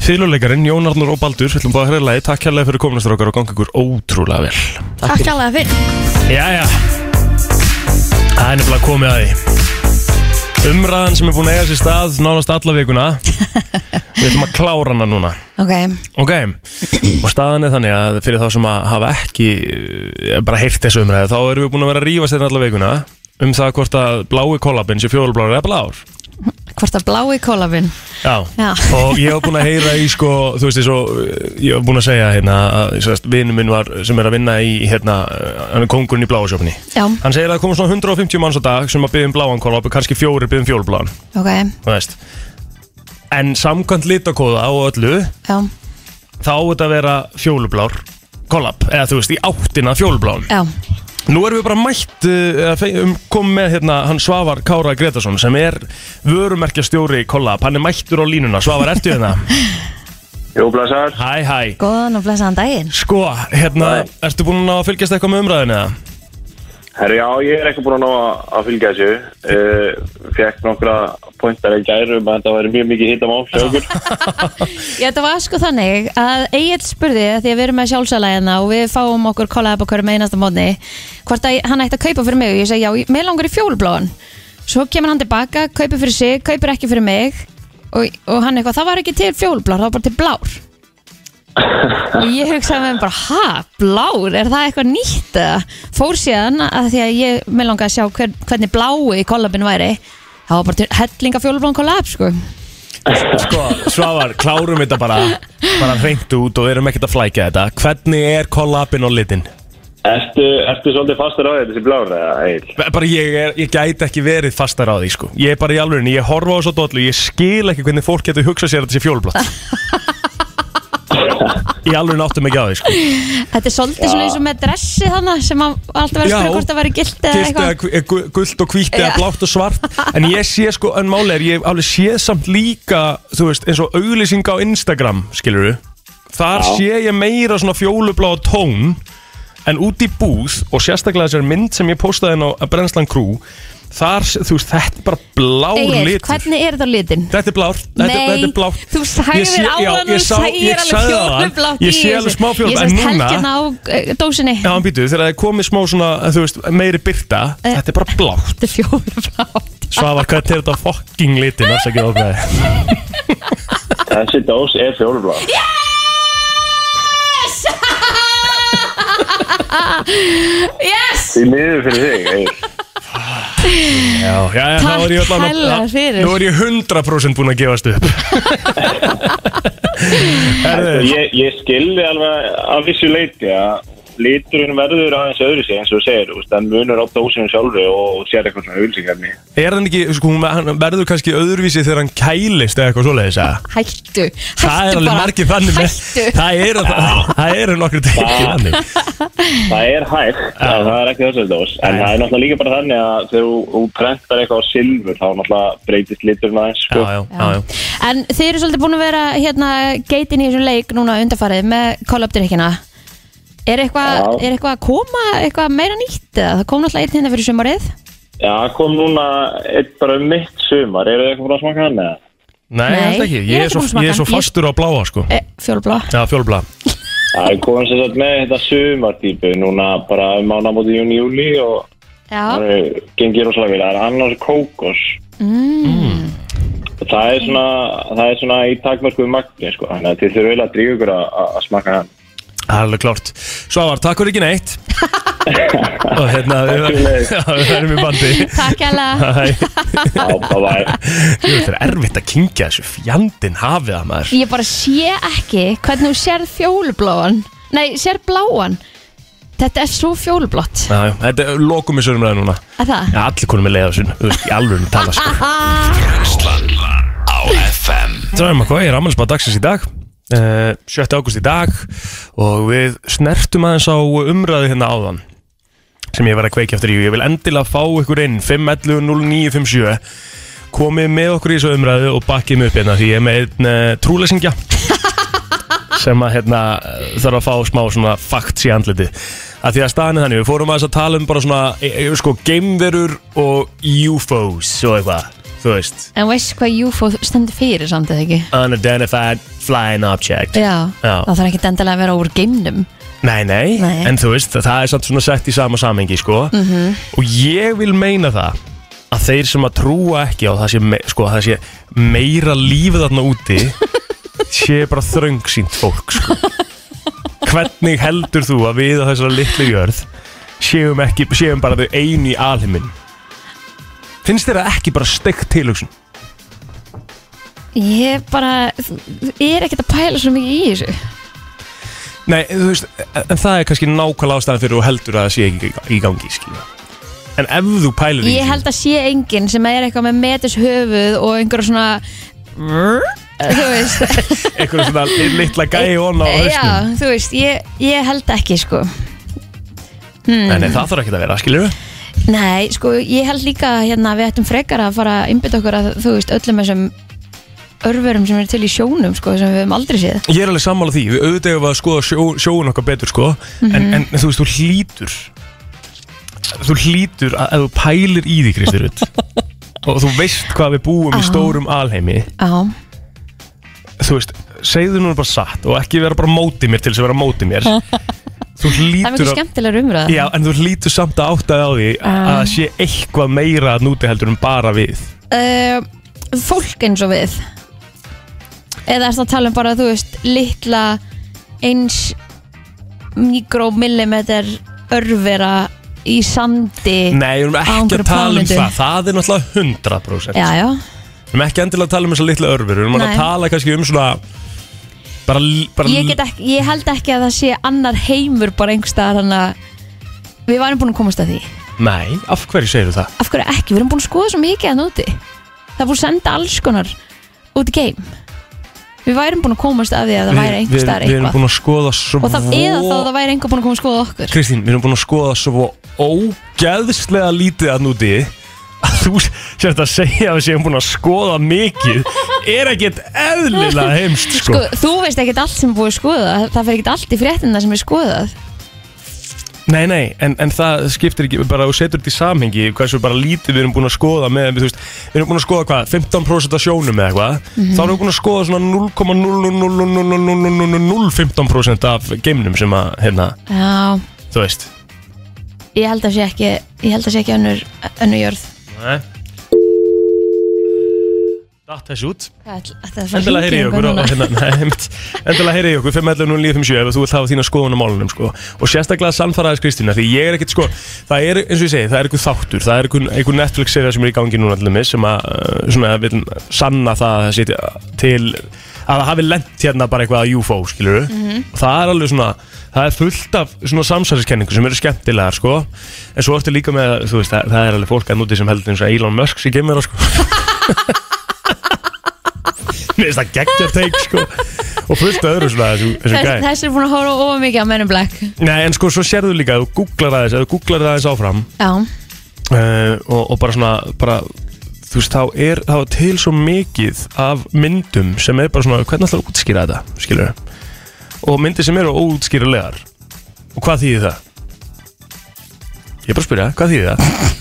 Fyrirleikarinn, Jón Arnur og Baldur Við ætlum bara að heyra lægið, takk hérlega fyrir komina strákar og gangi ykkur ótrúlega vel
Takk
takk
fyrir
alveg fyrir
Jæja Það er nefnilega komið að því Umræðan sem er búin að eiga sér stað nánast alla vikuna Við ætlum að klára hana núna
Ok,
Ok, og staðan er þannig að fyrir þá sem að hafa ekki eh, bara heyrt þessu umræðu, þá erum við búin að vera að rífast þetta alla vikuna um það hvort að blái kollabinn sé fjólublári eða blár
hvort að blái kólafinn
Já,
Já.
og ég hef búin að heyra í sko, þú veist, svo, ég hef búin að segja hérna að sérst, vinnu minn var, sem er að vinna í hérna, eh, hann er kongurinn í bláasjófni
Já,
Hann segir að það koma svona 150 manns á dag sem að byggja um bláan kollab, kannski fjóri byggja um fjólubláan,
ok,
þú veist En samkvæmt litakóða og öllu
já,
þá á þetta að vera fjólublár kollab, eða þú veist, í áttina að fjólubláum
já
Nú erum við bara mætt uh, eða fe- um, kom með hérna hann Svavar Kára Gretarsson sem er vörumerkjastjóri kollab, hann er mættur á línuna Svavar, ertu hérna?
Jú, blæsar.
Hæ, hæ
Góðan og blessaðan daginn
Sko, hérna, ertu búin að ná að fylgjast eitthvað með umræðinu eða?
Herri, já, ég er ekki búin að ná að- að fylgja þessu. Uh, Fekk nokkra pointar í gæru um að þetta væri mjög mikið hittamál hjá okkur.
Já, þetta var sko þannig að Egil spurði að því að við erum með sjálfsælæðina og við fáum okkur kollab okkur með einasta mótni hvort að hann ætti að kaupa fyrir mig og ég segi já, ég- mig langar í fjólblóðan svo kemur hann tilbaka, kaupir fyrir sig, kaupir ekki fyrir mig og, og hann eitthvað, það var ekki til fjólblár, það var bara til blár og ég hugsaði með mér bara, ha, blár, er það eitthvað nýtt eða? fór síðan að því að ég mig langaði að sjá hver, hvernig blái kollabin væri það var bara til hellinga fjólblóðan kollab sko.
Sko, Svavar, klárum þetta bara bara hreint út og erum ekkert að flækja þetta Hvernig er kollabin á litin?
Ertu, ertu svolítið fastur á þetta sem blár eða heil?
bara ég, er, ég gæti ekki verið fastar á því sko. ég er bara í alveg, ég horfa á svo dollu ég skil ekki hvernig fólk getur hugsað sér að þetta sé fjólblott í alveg náttum ekki á því sko.
Þetta er svolítið svona eins og með dressi þannig sem að alltaf verið að
Já.
spyrja hvort það væri gilt eða
Gilt eða
eitthvað
gu- eða gu- gult og hvítt eða
Já.
blátt og svart en ég sé sko, en máli er ég hef alveg séð samt líka, þú veist, eins og auglýsing á Instagram, skilur þar sé ég meira svona fjólublá tón, en út í búð og sérstaklega þessar mynd sem ég postaði inn á Brennslan Crew, þar, þú veist, þetta er bara blár
Egil,
litur
hvernig er þetta á litin?
Þetta er blár, þetta,
Nei,
þetta er blár
þú sagðir
Ég sé-
áðan
já,
og
ég
þú
sá-
sagðir
ég
alveg
sagði það.
fjólublátt
Ég
í
sé
þessu.
alveg smá fjólublátt,
Ég
en
sést
núna-
helgina á eh, dósinni
Já, hann býtu, þegar það er komið smá svona, þú veist, meiri byrta
Eh.
Þetta er bara blátt
Þetta er fjólublátt
Svavar, hvernig er þetta fucking litin, þess að ekki ofnaði
Þessi dós er fjólublár.
Yes!
Því miður fyrir þig, heil.
Já, já, já, þá er ég
Takk
allan
kærlega fyrir.
Nú er ég 100% búin að gefast upp Herðu,
Sko, Ég, ég skilði alveg af vissu leiti að liturinn verður aðeins öðru sig eins og þú segir, þú veist, hann munur á dósinu sjálfri og, og sér eitthvað svona auðlýsingarni.
Er hann ekki, sko, hún hann verður kannski öðruvísi þegar hann kælist eða eitthvað svoleiðis eða?
Hættu,
Það er
hættu
alveg
bara
margir þannig með
Hættu
Það eru, það eru nokkru tekið þannig
Það er hægt, en það er ekki þessari dós En
Nei.
það er náttúrulega líka bara þannig að þegar þú- þú prentar eitthvað á silfur þá náttúrulega breytist liturinn aðeins
Já,
sko.
já, já, já
Já. En þið eru svolítið búin að vera hérna geitin í þessum leik núna undarfarið með kollabdrykkina Er eitthvað
Já.
er eitthvað að koma eitthvað meira nýtt eða? Það kom náttúrulega einn hérna fyrir sumarið
Já, það kom núna eitt bara um mitt sumar Eru þið eitthvað frá að smaka hann eða?
Nei,
Nei,
alltaf ekki,
ég Eh, er
ég
ekki
er svo,
búin að smaka
ég er svo
hann. Ég-
fastur á bláa sko
e, Fjólblá
Já, fjólblá
Það er komin sem sagt með þetta sumartýpu núna bara um ánabóti júni júli og það
Já,
er gengið rosalega vel. Það er annars kókos.
Mm.
Hmm.
Mm. Það er svona, það er svona í takmörkuðu magni sko, þannig að þið þurfum eiginlega að drífa ykkur að- að að smakka hann.
Það er alveg klárt Svavar, takk fyrir ekki neitt Og hérna, við
Takk fyrir.
Já, við verðum í bandi
takk hella
Hæ,
Já, bye bye.
Jú, þetta er erfitt að kynkja þessu Fjandinn hafið það maður
Ég bara sé ekki hvernig hún sér fjólubláan Nei, sér bláan Þetta er svo fjólublott
Já, já, þetta er lokum í sörum ræði núna
Að það?
Já, allir konum er leið á þessu Þú veist, í alveg tala sko
Brennslan á FM
Dræma, hvað er ammælisbað dagsins í dag? Uh, 7. águst í dag og við snertum aðeins á umræðu hérna áðan sem ég var að kveikja eftir í og ég vil endilega fá ykkur inn 511-0957 komið með okkur í þessu umræðu og bakkið mig upp hérna því ég er með einn uh, trúlesingja sem að hérna eh, þarf að fá smá svona fakts í andliti að því að staðan er þannig, við fórum aðeins að tala um bara svona, e, e, sko, geimverur og UFOs og eitthvað þú veist
En veistu hvað UFO stendur fyrir samt eða ekki?
unidentified flying object
Já,
Já.
það þarf ekki endilega að vera úr geimnum
Nei, nei,
Nei. Mhm.
en þú veist, það er samt svona sett í sama samengi, sko -hmm. og ég vil meina það að þeir sem að trúa ekki á það sé, me, sko, það sé meira lífið þarna úti sé bara þröngsýnt fólk, sko Hvernig heldur þú að við á þessara litlu jörð séum, ekki, séum bara þau einu í alheimin Finnst þér það ekki bara steikt tilhugsun?
Ég bara, ég er ekkert að pæla svo mikið í þessu
Nei, þú veist, en það er kannski nákvæmlega ástæðan fyrir og heldur að það sé ekki í gangi, skilja. En ef þú pælir
Ég held að sé enginn sem er eitthvað með metis höfuð og einhverja svona Þú veist
einhverjum svona li- litla gæi onna á hausnum.
Já, þú veist, ég, ég held ekki sko Hmm.
Nei, nei, það þarf ekki að vera, skiljum við?
Nei, sko, ég held líka að hérna, við ættum frekar að fara að innbytta okkur að þú veist, öllum þessum örverum sem eru til í sjónum sko, sem við hefum aldrei séð
Ég er alveg sammála því, við auðvitað hefur að skoða sjó, sjóun okkar betur, sko,
Mhm.
en, en þú veist, þú hlýtur, þú hlýtur að ef þú pælir í því, Kristi Rutt, og þú veist hvað við búum í
Já.
stórum alheimi,
Já,
þú veist, segðu núna bara satt og ekki vera bara mótið mér til þess að vera mótið mér. Þú
það er mikið
hlýtur að
skemmtilega umræða
Já, en þú lítur samt að áttaði á því
Ah.
að það sé eitthvað meira að núti heldur en bara við.
uh, fólk eins og við eða ertu að tala um bara þú veist litla eins mikromillimeter örvera í sandi
Nei, við erum
Á
ekki
einhverju
að tala um
plánetu.
það. Það er náttúrulega 100%.
já, já,
Við erum ekki endilega að tala um þessa litla örfur. Við erum að
Nei.
tala kannski um svona... Bara, l- bara
ég, get ekki, ég held ekki að það sé annar heimur bara einhverstaðar hann að við varum búin að komast að því
Nei, af hverju segir þú það?
af hverju ekki, við erum búin að skoða svo mikið að núti það er búin að senda alls konar út í geim við værum búin að komast að því að það væri
Við- við-
einhverstaðar
Við erum
eitthvað
búin að skoða svo...
og það eða þá
Sko-
að það væri einhver búin að koma að skoða okkur
Kristín, við erum búin að skoða svo ógeðslega lítið að núti að þú sérst að segja að við séum búin að skoða mikið er ekkert eðlilega heimst sko.
Sko, þú veist ekkert allt sem er búið að skoða Það fer ekkert allt í fréttina sem er skoðað
Nei, nei, en, en það skiptir ekki, bara þú setur þetta í samhengi hversu bara lítið við erum búin að skoða með, þú veist, við erum búin að skoða hvað, 15% af sjónum eða eitthvað, þá erum við búin að skoða svona 0,0000015% af geimnum sem að, hérna,
Já,
þú veist
ég held að sé ekki Ég held að sé ekki önnur, önnur jörð
Nei Datt þessu út
Þetta er
Endilega heyri ég okkur og, hérna, nei, einmitt. Endilega heyri ég okkur 5.11.09.57 ef þú vilt hafa þína skoðun á málunum sko. og sérstaklega sannfaraðis Kristína því ég er ekkit sko, það er eins og ég segi það er einhver þáttur, það er einhver, einhver Netflix serið sem er í gangi núna allir með sem að uh, svona vil sanna það að það sé til að það hafi lent hérna bara eitthvað að UFO skilur
Mhm.
það er alveg svona það er fullt af svona samsæðiskenningu sem eru skemmtilegar sko en svo ertu líka með, þú veist, það, það er alveg fólk að núti sem heldur eins og Elon Musk sér gemur sko Mér finnst það geggja teik sko Og fullt af öðru svona þessu, þessu
Þess,
gæ
Þessi er búin að horfa ofa mikið á mennum black
Nei en sko svo sérðu líka að þú googlar aðeins Ef þú googlar aðeins áfram
Já,
uh, og, og bara svona bara, Þú veist þá er þá er til svo mikið Af myndum sem er bara svona Hvernig ætlar að útskýra þetta skilur Og myndir sem eru óútskýralegar Og hvað þýðir það? Ég er bara að spyrja, hvað þýðir það?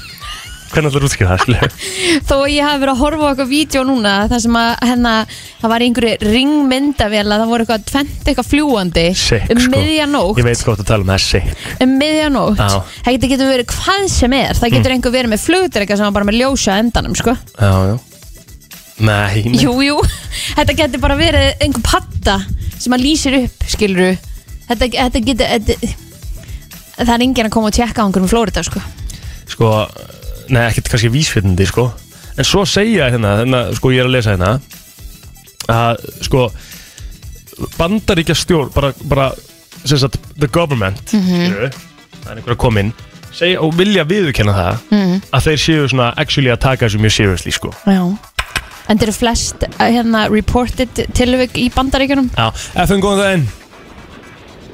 hvernig ætlar þú að útskýra það, skilur?
Þó að ég hafi verið að horfa á eitthvað vídeo núna þar sem að hérna, það var í einhverju ringmyndavél að það voru eitthvað tvent eitthvað fljúandi
Sick,
um
sko.
miðjanótt
Ég veit hvað þú tala um, það er sick.
um miðjanótt
Já. Mm.
það getur, getur verið hvað sem er það getur einhver verið með flugdreika sem var bara með ljósa á endanum sko.
Já, já. Nei, nei.
jú, jú, þetta getur bara verið einhver patta sem að lýsir upp skiluru þetta, þetta getur þetta, það er enginn að koma og tjekka á einhverjum Flórida sko.
sko, nei, ekkert kannski vísfyrnandi, sko, en svo segja hérna, hérna, sko, ég er að lesa hérna að, sko bandaríkja stjórn bara, bara, sem sagt, the government mm það er einhver að koma inn segja og vilja viðurkenna það að þeir séu svona actually að taka þessu mjög seriously, sko
já en þeir eru flest eh, hérna, reported tilvik í bandaríkjunum
Já, FN, góðan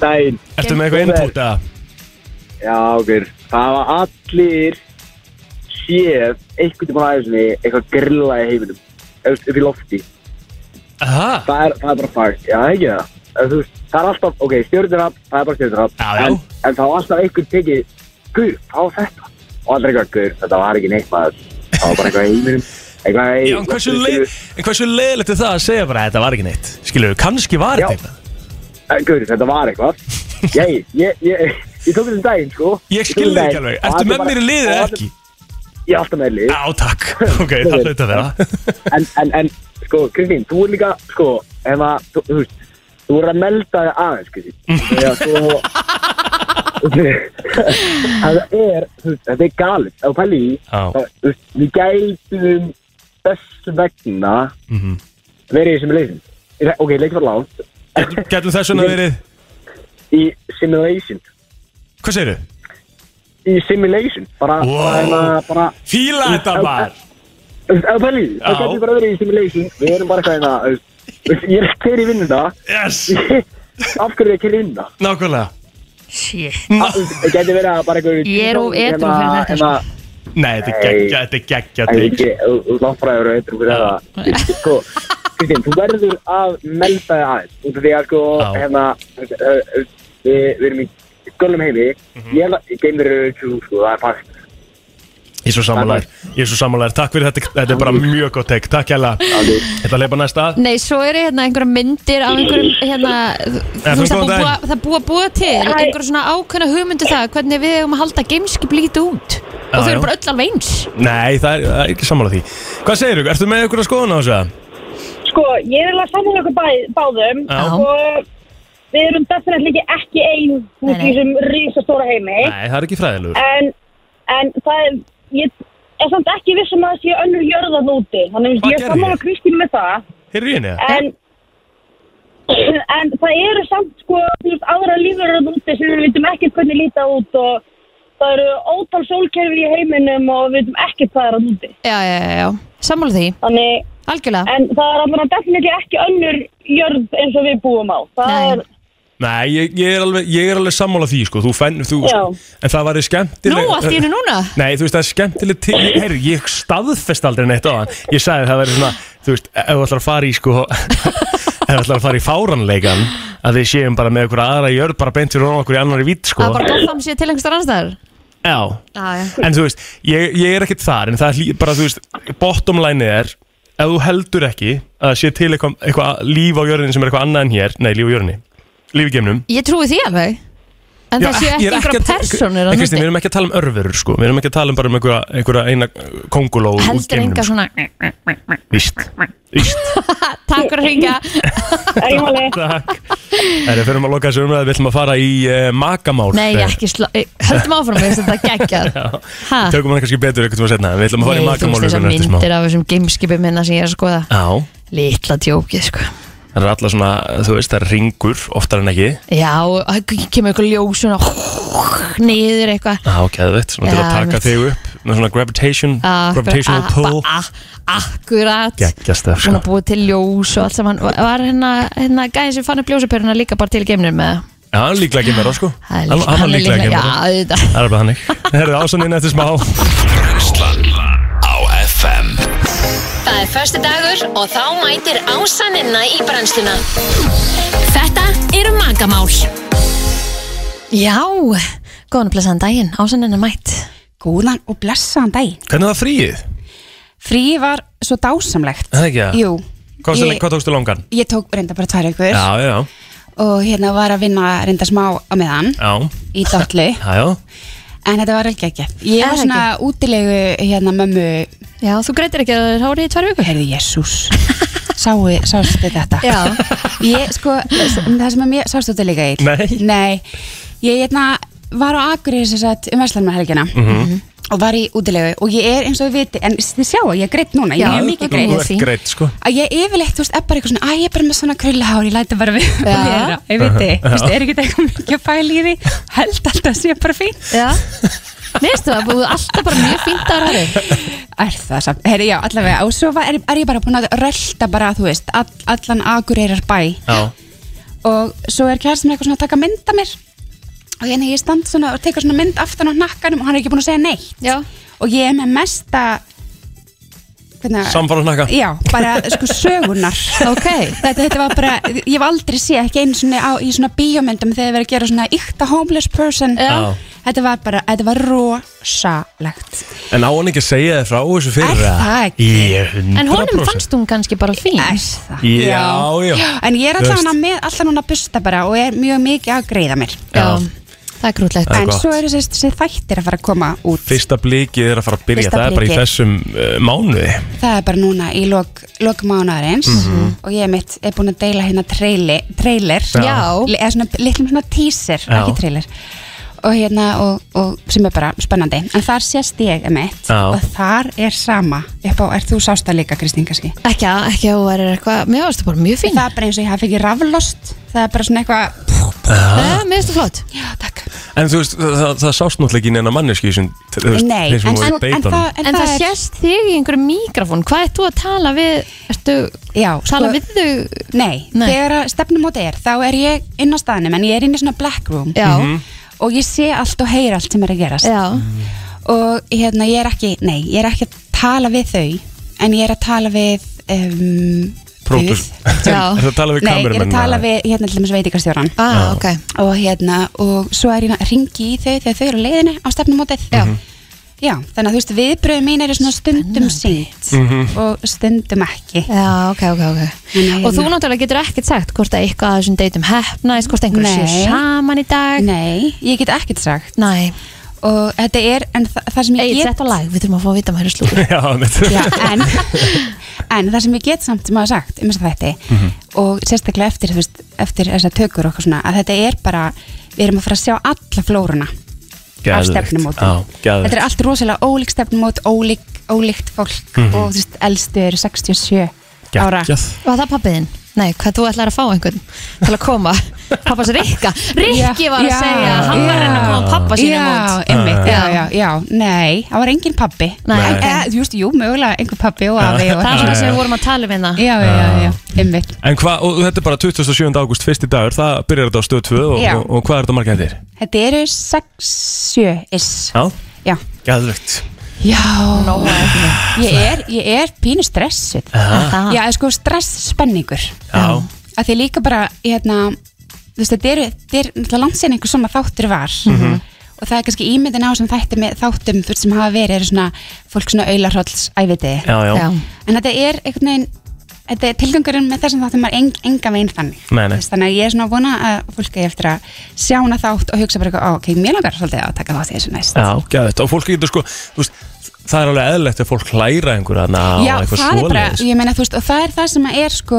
daginn,
Dæn,
ertu með eitthvað input að
já okkur Það var allir séð einhvern tímann aðeins eitthvað grilla í heiminum Eða upp í lofti
Aha,
það er, það er bara fakt, já ekki það Ef þú veist, það er alltaf, ok, stjórnirab, það er bara stjórnirab
Já, já.
en, en þá var alltaf einhvern tekið, guður, þá var þetta Og allir eitthvað, guður, þetta var ekki neitt maður Það var bara eitthvað í heiminum Eitthvað í
já, en hversu, leið, en hversu leiðilegt er það að segja bara að þetta var ekki neitt skilur, kannski var
Já.
þetta eitthvað.
Guður, þetta var eitthvað Ég, ég, ég, ég tók þessum daginn, sko
ég skilur þig ekki alveg, ertu með mér í liðið eða ekki?
Ég er alltaf með lið
Já, takk, ok, það hluta þeirra
en, en, en, sko, Kristín, þú er líka, sko, ef að, þú, þú veist, þú er að melda þig aðeins, Kristín. Þegar svo, það er, þú veist, þetta er galið, ef þú pæli í,
Já.
það- þú veist, við gætum þess vegna verið í þessum leysum. Ok, leikur var langt,
Gætum þess vegna verið,
í simulation,
hvað segirðu?
í simulation, bara,
Wow.
bara, hérna, bara,
Fíla þetta var
Þú veist, ef þú pæli í,
Já.
það gætum bara verið í simulation, við erum bara eitthvað hérna, þú veist, þú veist, ég er kæri vinnum það,
Yes,
af hverju er ekki rinna
nákvæmlega
það gæti verið að bara einhver hérna,
Ég er of edrú fyrir þetta, sko.
Nei, þetta er
Nei.
geggja, þetta er geggja
en
trygg
ekki langfræður og edrú fyrir þetta sko Kristín, þú verður að melda þig aðeins út af því að sko
Já.
hérna ö, ö, við við erum í göllum heimi
Mhm.
ég er að geimur eru tjú sko það er fakt
Ég er svo sammálaður, ég er svo sammálaður Takk fyrir þetta, þetta er bara mjög gott tek Takk hella, þetta leipa næsta að
Nei, svo eru hérna einhverja myndir af einhverjum hérna, þú veist, það
Eh, góðan
búa,
daginn.
það búa búa til einhverja svona ákveðna hugmyndu það hvernig við hefum að halda gameskip lítið út og
Já,
þau
já.
eru bara öll alveg eins
Nei, það er, það er ekki sammála því Hvað segirðu, ertu með ykkur að skoðuna á þessu? eða?
Sko, ég vil að saman okkur bæ, báðum
Já.
og við erum definitely ekki ein
Nei,
út
nei.
í þessum risastóra heimi
Nei, það er ekki fræðilegur
en, en það er, ég er samt ekki vissum að það sé önnur jörðan úti þannig
Hvað
að ég
gerði
er saman
ég?
að Kristín með það
Heyrðu í henni?
Eh.
eða?
en, en það eru samt sko þú veist, aðra lífur úti sem við vitum ekkert hvernig líta út og það eru ótal sólkerfi í heiminum og við vitum ekkert hvað er að úti
Já, já, já, já, sammála því,
þannig
algjörlega
En það er alveg definitely ekki önnur jörð eins og við búum á. Það
Nei.
er,
Nei, ég, ég, er alveg, ég er alveg sammála því sko. þú fenn, þú,
Já.
En það var skemmtileg
Nú, allt í hennu núna
Nei, þú veist, það er skemmtileg til Herru, ég staðfest aldrei neitt á hann Ég sagði það verið svona, þú veist, ef þú ætlar að fara í sko Ef þú ætlar að fara í fáranleikan Að við séum bara með okkur aðra jörð Bara beint fyrir ofan okkur í annari vitt sko
Það er bara Gotham sé til einhverstaðar annars þar
Já,
Já, já,
en þú veist, ég, ég er ekkert þar En það er lí- bara, þú veist, bottom line er Ef þú heldur ekki að sé til eitthvað eitthva líf á jörðinni sem er eitthvað annað en hér Nei, líf á jörðinni, líf í geimnum
ég trúi því alveg En það séu
ég
ekki
er
einhverja
að-
personur
Nei,
að
Kristín, við
núti
erum ekki að tala um örverur sko Við erum ekki að tala um bara um einhverja, einhverja eina uh, kónguló úr
Heldur
geimnum, sko.
enga svona
Víst, víst
Takk fyrir að ringa
er ég máli.
Takk Það er fyrir að loka þessu umræðu Við ætlum að fara í uh, makamál
Nei,
Eh,
ekki slá eh, Höldum áfram, við þetta geggjað Ha?
Tökum hann kannski betur eitthvað setna Við ætlum að fara í
Nei, þú
makamál
veist þessar
vikunnar eftir smá.
myndir af þessum gameskipið minna sem ég er að skoða
Já,
Litla djókið sko
það er alla svona Þú veist, það er ringur oftar en ekki
Já, og það kemur eitthvað ljós svona niður eitthvað
Já, geðveitt Svona til
Já,
að taka
einmitt.
þig upp Með svona gravitation
Ah,
Gravitational
akkur-
pull
ah, ah, Akkurat
Geggjast það
Búin
sko
að búið til ljós og allt saman Var- Var hérna, hérna gæðin sem fann upp ljósapyruna líka bara til geimnir með það?
Já, hann er líklega ekki með það sko
Það
Hann
er líklega-
hann er
hann er
líklega ekki með
líklega- Já, auðvitað
Það er bara hannig Herðu ásaninn eftir smá
Brennslan á FM
Það er förstu dagur og þá mætir ásaninna í brennsluna. Þetta eru magamál.
Já, góðan og blessaðan daginn, ásennina mætt
góðan og blessaðan dag
Hvernig var fríið?
Frí var svo dásamlegt
Það ekki að?
Jú
Hvað, ég...
ég-
hvað tókstu langan?
Ég tók reynda bara tvær ykkur
Já, já, já,
og hérna var að vinna reynda smá á meðan
já,
í dotlu
já, já.
en þetta var ekki ekki Ég
Er
var svona útilegu hérna mömmu
Já, þú greitir ekki að það er hárið í tvær vikur
Herði, jésús Sáu, sástu þetta?
Já.
Ég, sko, það sem er mér, sástu þetta líka eitt?
Nei.
Ég, hérna, var á Akureyri sem sagt um Veslanmarhelgina
Mhm.
og var í útilegu og ég er eins og við viti, en þið sjáu, ég er greitt núna, ég er mikið greitt
Þú ert greitt, sko
að ég yfirleitt, þú veist, er bara eitthvað svona, að ég er bara með svona krullahár, ég læti bara við
Já.
að vera, ég veit þið,
Já.
þú veist, er ekki eitthvað mikið að pæla í því, held alltaf að sé bara fín.
Já Neistu það, búið alltaf bara mjög fínt að ræði
Er það samt, herri, já, allavega, og svo var, er, er ég bara búin að rölda bara, þú veist, all, allan akureyrar bæ
Já,
og svo er kærast mér eitthvað svona að taka mynd af mér og hérna ég stand svona og teka svona mynd aftan á nakkanum og hann er ekki búin að segja neitt
Já,
og ég er með mesta, hvernig,
samfara snakka
Já, bara sko sögunar
Ok.
þetta, þetta var bara, ég hef aldrei séð ekki einu svona á, í svona bíómyndum þegar verið að gera svona ykta homeless person
Já.
Þetta var bara, þetta var rosalegt
En á hann ekki að segja þér frá þessu
Er
fyrir
það ekki?
Ég, 100%
en honum fannst hún kannski bara fín
Er það?
Já, já.
En ég er
Þú
alltaf
veist.
hana með, alltaf hana að busta bara og er mjög mikið að greiða mér
Já.
það er grútlegt
Það er
En
gott.
svo eru þessi þessi þættir að fara að koma út
Fyrsta blikið er að fara að byrja
Fyrsta
Það er bara í
blikið.
þessum uh, mánuði
Það er bara núna í lok, lok mánuðarins og ég er mitt er búin að deila hérna treyli, treyler
Já.
eða svona litlum svona teaser
Já.
ekki treyler og hérna og, og sem er bara spennandi en þar sést ég mitt
Já.
og þar er sama upp á, er þú sásta líka Kristín kannski
Ekki að, ekki að hún væri eitthvað Mér varstu bara mjög fín
það er bara eins og ég hafi ekki raflost það er bara svona eitthvað
Eh, Mér varstu flott
já takk
En þú veist, það, það, það sást náttúrulega ekki neina manneski sem, þú veist,
Nei,
þeir sem
en,
voru
svo-
í beitanum
það,
En það sést þig í einhverju mikrofón Hvað ert þú að tala við Ertu
já,
tala
sko-
við þau
Nei,
Nei.
þegar að stefnumóti er þá er ég inn á staðnum en ég er inn í svona black room
Já,
Mhm.
og ég sé allt og heyra allt sem er að gerast
já,
og hérna ég er ekki, nei, ég er ekki að tala við þau en ég er að tala við um,
Pródús-
Guð.
já
Er það að tala við
Nei, ég er að
kameramennina?
tala við hérna til þess veitikastjóran
Ah, ok
og hérna, og svo er ég að ringi í þau þegar þau eru á leiðinni á stefnumótið Já
Mhm.
Já, þannig að þú veist, viðbröðu mín eru svona stundum sínt
Mhm.
og stundum ekki um
Já, ok, ok, ok
Nei,
Og þú
nei.
náttúrulega getur ekkert sagt hvort að eitthvað að þessum deytum hefnaðist, hvort einhverju
Nei.
séu saman í dag
Nei, ég get ekkert sagt
Nei,
og þetta er, en þa það sem ég
Egil,
get
þetta lag, við þurfum að fá að vita maður slúkur
Já, mitt
Já, en, en það sem ég get samt sem að sagt um þess að þetta
Mhm.
og sérstaklega eftir, þú veist, eftir þess að tökur okkur svona að þetta er bara, við erum að fara að sjá alla flóruna af stefnumótum þetta er allt rosalega ólík stefnumót ólík, ólíkt fólk og þú veist, elstu eru 67 ára
Var það pappiðinn? Nei, hvað þú ætlar að fá einhvern til að koma Pappas Rikka Rikki var að
Já,
segja, að hann var að reyna að koma pappa sínum
já,
út
einmitt, já,
Já.
já, já, nei, það var engin pappi
Nei,
Nei.
ok.
Eh, Þú veist, jú, mögulega einhver pappi og afi og
Það er
eitthvað.
svona sem við vorum að tala um hérna
já, já, já, já, einmitt
En hvað, og þetta er bara 27. ágúst, fyrsti dagur, það byrjar þetta á stöð 2 og,
Já.
og, og hvað er þetta margæðið þér?
Þetta eru 6-7 is
Já,
Já,
gæðvögt
já. Ég, er, ég er pínu stressuð
Það-
Já, eða sko stress spenningur
Já,
að því líka bara hérna, þú veist, þetta eru þetta er náttúrulega landsinn einhver svona þáttur var
Mhm.
og það er kannski ímyndin á sem þætti með þáttum þú veist sem hafa verið eru svona fólk svona aularhólls æviti
já, já,
Já.
en þetta er einhvern veginn þetta er tilgangurinn með þessum þáttum var eng, enga veginn þannig
Nei, nei.
Þú veist, þannig að ég er svona að vona að fólk er eftir að sjá hana þátt og hugsa bara eitthvað, "Ó, ok, mér langar svolítið að taka þátt í þessu næst
já gæðvögt Og fólk getur sko, þú veist, það er alveg eðlilegt ef fólk hlæra einhverja þarna á
Já,
eitthvað
það er bara,
svoleiðis
ég meina þú veist, og það er það sem að er sko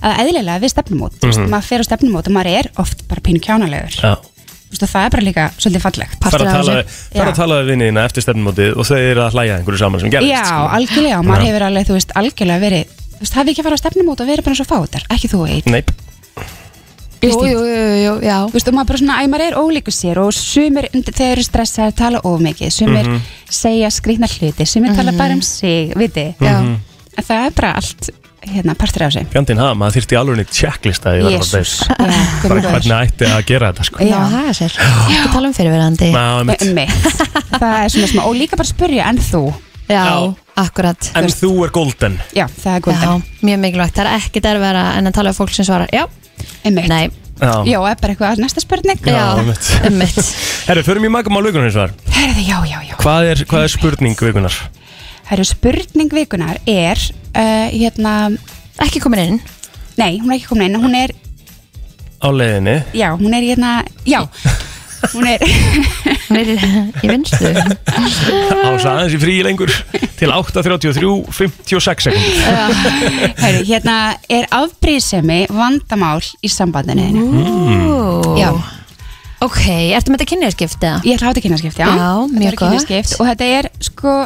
að eðlilega við stefnumót, þú
Mhm.
veist, maður fer á stefnumót og maður er oft bara pínu kjánalegur,
Já,
þú veist, og það er bara líka svolítið fallegt.
fara að
af
tala,
þessu.
fara að
Já.
tala við vinniðina eftir stefnumótið og þau eru að hlæja einhverju saman sem gerðist
Já,
sko.
algjörlega, og maður
Já.
hefur alveg, þú veist, algjörlega verið, þú veist, hafi ekki farið á stefnumót og verið bara eins og fátar, ekki þú eitt,
Nei,
Jú, jú, jú, jú, jú, já
þú veist, og maður bara svona, æ, maður er ólíkur sér og sumir, undir- þeir eru stressaðir, tala of mikið, sumir
Mhm.
segja skrýtna hluti, sumir tala bara um sig, viti,
Mhm. Já.
en það er bara allt, hérna, partur af sig.
Mhm. fjandinn hafa, maður þyrfti alveg neitt checklista ef ég verð að fara að
Jesús,
deyta.
já, guð minn
Bara
góður.
hvernig ætti að gera þetta sko
Já.
Já, það er sér Ekki tala um fyrirverandi
Ná, einmitt.
Mitt. það er svona smá, og líka bara spyrja en þú,
Já, akkurat
En þú er golden
já, það er
Já,
góðan
mjög mikilvægt, það er ekkit erfara en að tala um fólk sem svarar Já,
Einmitt.
nei,
Já.
já, er bara eitthvað næsta spurning
einmitt Herru, förum í magamál vikunar eins og þar
Herðu, já, já, já
Hvað er, hvað er spurning vikunar?
Herðu, spurning vikunar er uh, hérna
Ekki komin inn
Nei, hún er ekki komin inn, hún er,
Á leiðinni
já, hún er hérna, já Hún er
Hún er í vinstu
Ása aðeins í fríi lengur Til 8.33, 56 sekund
Herðu, hérna er afbrísemi vandamál í sambandinu þínu
Ó.
Já,
Ok, ertu með þetta kynniðarskipt eða?
Ég ætla átt að kynnaskipt, já.
Já,
Þetta
mjög
var kynjaskipt Og þetta er sko,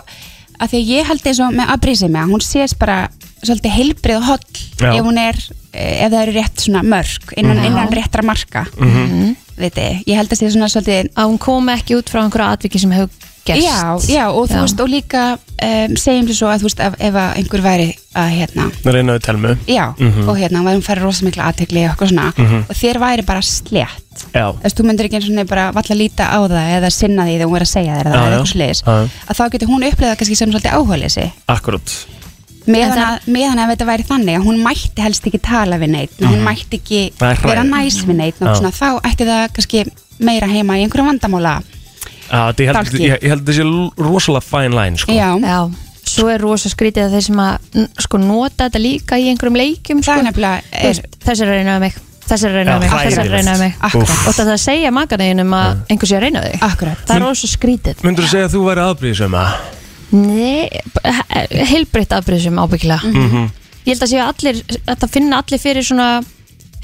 að því að ég held eins og með abrísemi að hún sést bara svolítið heilbrið og holl
Já.
ef hún er, eh, ef það eru rétt svona mörg, innan,
Mhm.
innan réttra marka.
Mhm.
Viti, ég held að sé svona svolítið...
Að hún kom ekki út frá einhverja atviki sem hefur gerst
Já, já, og þú veist, og líka um, segjum við svo að þú veist, ef, ef að einhver væri að hérna,
Reynaðu telmu
já,
Mhm.
og hérna, væri hún færi rosa mikla aðtegli og eitthvað svona,
Mhm.
og þér væri bara slétt.
Já
Þú veist, þú myndir ekki eins og nefnir bara valla líta á það eða sinna því þegar hún er að segja þér það eða eitthvað sliðis að þá getur hún upplegað kannski sem svolítið áhugaleysi
Akkurát
meðan að- meðan ef þetta væri þannig að hún mætti helst ekki tala við neitt mm. hún
Mhm.
mætti ekki
Það er hræðilegt.
vera næs við neitt
Já.
og svona, þá ætti það kannski meira heima í einhverjum vandamála
Já, þetta- ég held-
Dálki.
Ég ég held þessi rosalega fine line sko.
Já.
Svo er rosa skrítið að þeir sem að n- sko, nota þetta líka í einhverjum leikjum sko. Þú
er-
veist, Þessir er að reyna við mig Þessir er að reyna
Já,
við mig Þessir er að
hræðilegt.
reyna við mig
Akkurat.
Og það að segja makaneginum að einhver sé að reyna við þig
Akkurat
Það er rosa skrítið
Myndur þú segja að þú væri aðbríðisum að?
Nei, heilbreytt afbrýðsum ábyggilega
Mhm.
Ég held að séu allir, að það finna allir fyrir svona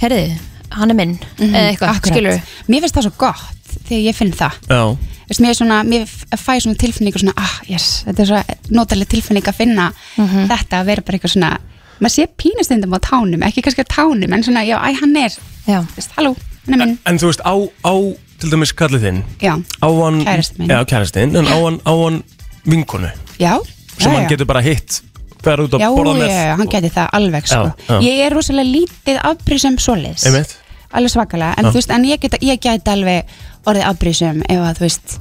Herði, hann er minn Eða eitthvað,
Mhm, Akkurat.
skilur
Mér finnst það svo gott þegar ég finn það
Já
Þú veist, mér, er svona, mér f- fæ svona tilfinningu svona, ah, yes, þetta er svo notaleg tilfinning að finna þetta að vera bara eitthvað svona maður sé pínustundum á tánum, ekki kannski á tánum en svona, já, æ, hann er
já.
Vist, halló, hann er minn,
En þú veist, á, á til dæmis kallið þinn
já,
Á hann
Kærastinn minn.
Já, kærastinn En á hann, á hann vinkonu
já
Sem
já,
hann
já.
getur bara hitt Færa út að
já,
borða með
já, já, hann geti það alveg sko.
Já, já.
ég er rosalega lítið afbrísum svoleiðis,
Einmitt
alveg svakalega en,
Já.
þú veist, en ég, geta, ég geti alveg orðið afbrísum ef að þú veist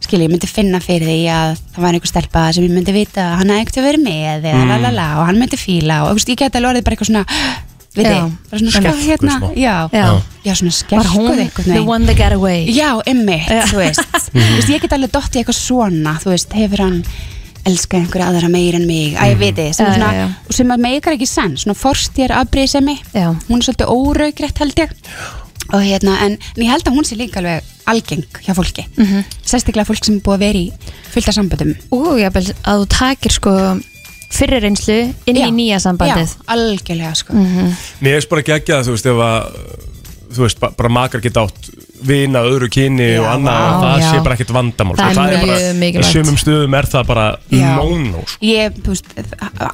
skil ég myndi finna fyrir því að það var einhver stelpa sem ég myndi vita að hann ekkert að vera með eða
Mm.
mm. lalala og hann myndi fíla og þú veist, ég geti alveg orðið bara eitthvað svona við
Já.
þið, bara svona
Skelku
sko, hérna,
smá.
já,
Já.
já, svona
Var hún
skelkuð einhvern
the one that got away
Já, emmitt,
Já.
þú veist Þú veist, ég get alveg dottið eitthvað svona þú veist, hefur hann elskað einhverja aðra meir en mig, að ég veit þið sem,
Mhm. Já,
er svona,
já, já.
og sem að meikar ekki sann, svona forstjær afbrýðisemi, hún er svolítið óraugrætt held ég og hérna, en, en ég held að hún sé líka alveg algeng hjá fólki mm
Mhm.
-hmm. sérstaklega fólk sem er búið að vera í fullta samböndum
Og jafnvel að þú takir sko fyrir reynslu inn í nýja sambandið
Já, algjörlega sko
Mhm.
Mér veist bara ekki ekki að þú veist ef að þú veist, ba- bara makar geta átt vina öðru kyni og annað
vá,
og það
já.
sé bara ekkert vandamál
Það
sko.
er mjög
bara,
mikilvægt.
í sumum stöðum er það bara
Já.
no-no sko.
ég, þú veist,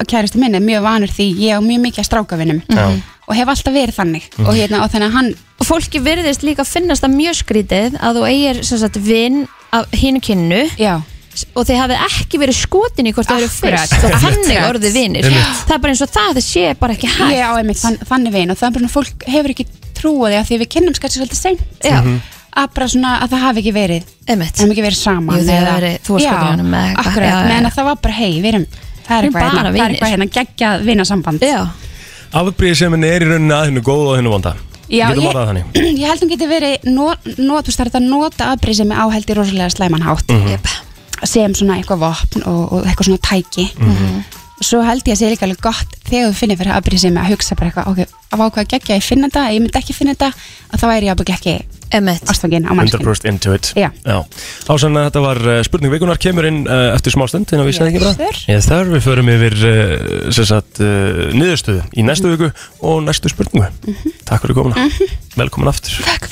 kæristi minn er mjög vanur því ég á mjög mikið að strákavinnum
Já.
og hef alltaf verið þannig og hérna, og þannig að hann
Mhm. Og fólki virðist líka finnast það mjög skrítið að þú eigir sem sagt vinn af hinu kynnu
Já.
og þið hafið ekki verið skotin í hvort það eru
Akkurat,
fyrst og þannig
akkurat.
orðið vinnir
Einmitt.
það er bara eins og það það sé bara ekki hægt
Já, einmitt, þann, þannig veginn og það er bara svona, fólk hefur ekki trúið því að því við kynnum kannski svolítið seint
Já. Mhm.
að bara svona að það hafi ekki verið
einmitt.
það hafi ekki verið saman
Jú, þið hafi
eða-
verið- þú varst
Já,
skotin í honum eða eitthvað.
akkurat,
Já, já,
meðan
já.
að það var bara hei, við erum það er
Við erum
eitthvað
bara
hérna, það er
vinir.
eitthvað hérna geggjað vinasamband
Já,
Afbríðisefin er í rauninni að hennu góð og hennu vonda
Já,
Getum
ég-
orðað það þannig
ég held hún geti verið not, not, þú starta að nota afbrið sem er áhældi rosalega slæmanhátt mm
Mhm.
sem svona eitthvað vopn og, og eitthvað svona tæki
Mhm.
svo held ég að sé líka alveg gott þegar þú finnir fyrir afbrið sem að hugsa bara eitthvað, ok, af ákveða geggja ég finna þetta, ef ég myndi ekki finna þetta að þá væri ég ábygg ekki ástfangin á mannskinn
100% into it
Já.
Ásann að þetta var uh, spurning vikunar kemur inn uh, eftir smástund inn á vísnaði ekki
Yes,
bara Yes sir, við förum yfir uh, sem sagt, uh, niðurstöðu í næstu viku og næstu spurningu
Mhm.
Takk fyrir komuna Velkomin aftur
Takk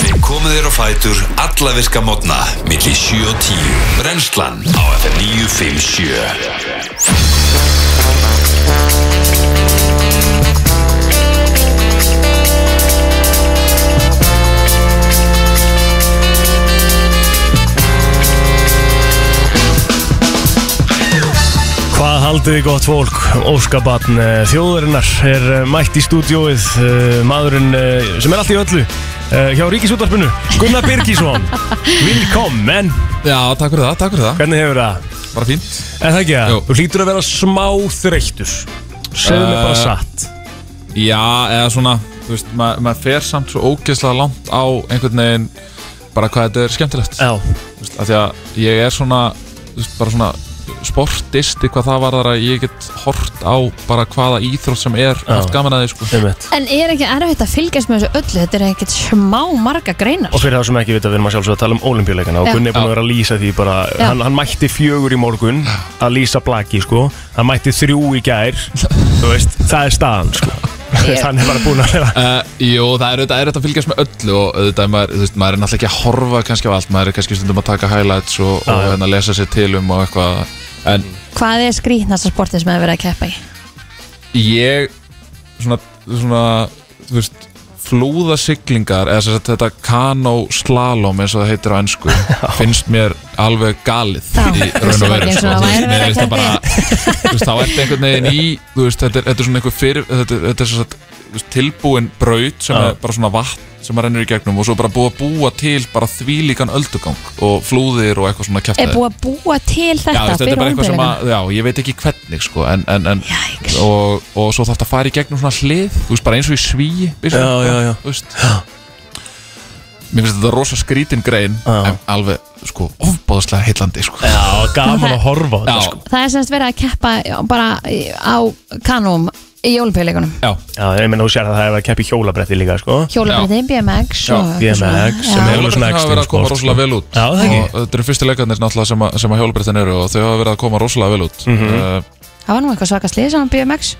Við komum þér á fætur alla virka mótna milli 7 og 10 Brennslan á FM 957
Hvað haldið þið gott fólk? Óskabatn þjóðurinnar er eh, mætt í stúdióið eh, maðurinn eh, sem er allt í öllu eh, hjá Ríkisútvarpinu Gunnar Birgisson Willkommen
Já, takk fyrir það, takk fyrir það
Hvernig hefur það?
Bara fínt
Er það ekki það? Þú hlýtur að vera smá þreyttur Segðu mér bara
Eh,
satt
Já, eða svona þú veist, ma- maður fer samt svo ógeðslega langt á einhvern veginn bara hvað þetta er skemmtilegt
Já
Þú veist, af því að ég er svona, þú veist, bara svona sportisti hvað það var þar að ég get hort á bara hvaða íþrótt sem er
Já.
haft gaman að því sko
Einmitt.
En er ekki erfitt að fylgjast með þessu öllu? Þetta er ekkert smá marga greinar.
Og fyrir það sem ekki vita, við erum að sjálfsögða að tala um olimpíuleikana og
Já.
Gunni er búin að vera að lýsa því bara,
Já.
hann, hann mætti fjögur í morgun að lýsa blaki, sko hann mætti þrjú í gær þú veist, það er staðan, sko Þú veist, hann er bara búin að vera
Uh, jú, það er auðvitað erfitt að fylgjast með öllu og auðvitað er maður, þú veist, maður er náttúrulega ekki að horfa kannski á allt, maður er kannski stundum að taka highlights og, og hérna lesa sér til um og eitthvað en
Hvað er skrýtnasta sportið sem hefur verið að keppa í?
ég svona, svona þú veist, flúðasiglingar eða sem sagt þetta kano slalom eins og það heitir á ennsku finnst mér alveg galið í raun og
Það er
veru sko.
ekki eins og það
Þú veist, mér finnst það bara-
væri verið að keppa í.
þú veist, þá ertu einhvern veginn í þú veist, þetta, er, þetta er svona einhver fyrir þetta, er- þetta er svona veist, tilbúin braut sem
Já.
er bara svona vatn sem maður rennur í gegnum og svo bara búið að búa til bara þvílíkan öldugang og flúðir og eitthvað svona kæftið
Er búið að búa til þetta
já, þú veist, þetta er
fyrir
bara eitthvað sem
ólympíuleikana?
að, já, ég veit ekki hvernig sko, en, en, en, og, og svo þarf þetta að fara í gegnum svona hlið, þú veist, bara eins og í svíi byssu,
Já, já, já.
þú veist mér finnst þetta rosa skrítin grein en alveg, sko, ofbáðslega heillandi, sko
já, gaman að horfa á
já,
þetta, sko
Það er semst verið að keppa bara í- á kanum í jólumpiðleikunum.
Já,
ég meina, þú sér að það er verið að keppa í hjólabretti líka, sko
Hjólabræði, BMX
Já,
og eitthvað svona.
BMX, sem
Já.
er alveg svona
hafa verið að koma
ekstremsport,
rosalega vel út
sko. Já, það ekki.
og þetta eru fyrstu leikarnir náttúrulega sem, að- sem að hjólbreytin eru og þau hafa verið að koma rosalega vel út
Mhm.
mm
Það var nú eitthvað svaka sliðið sem BMX.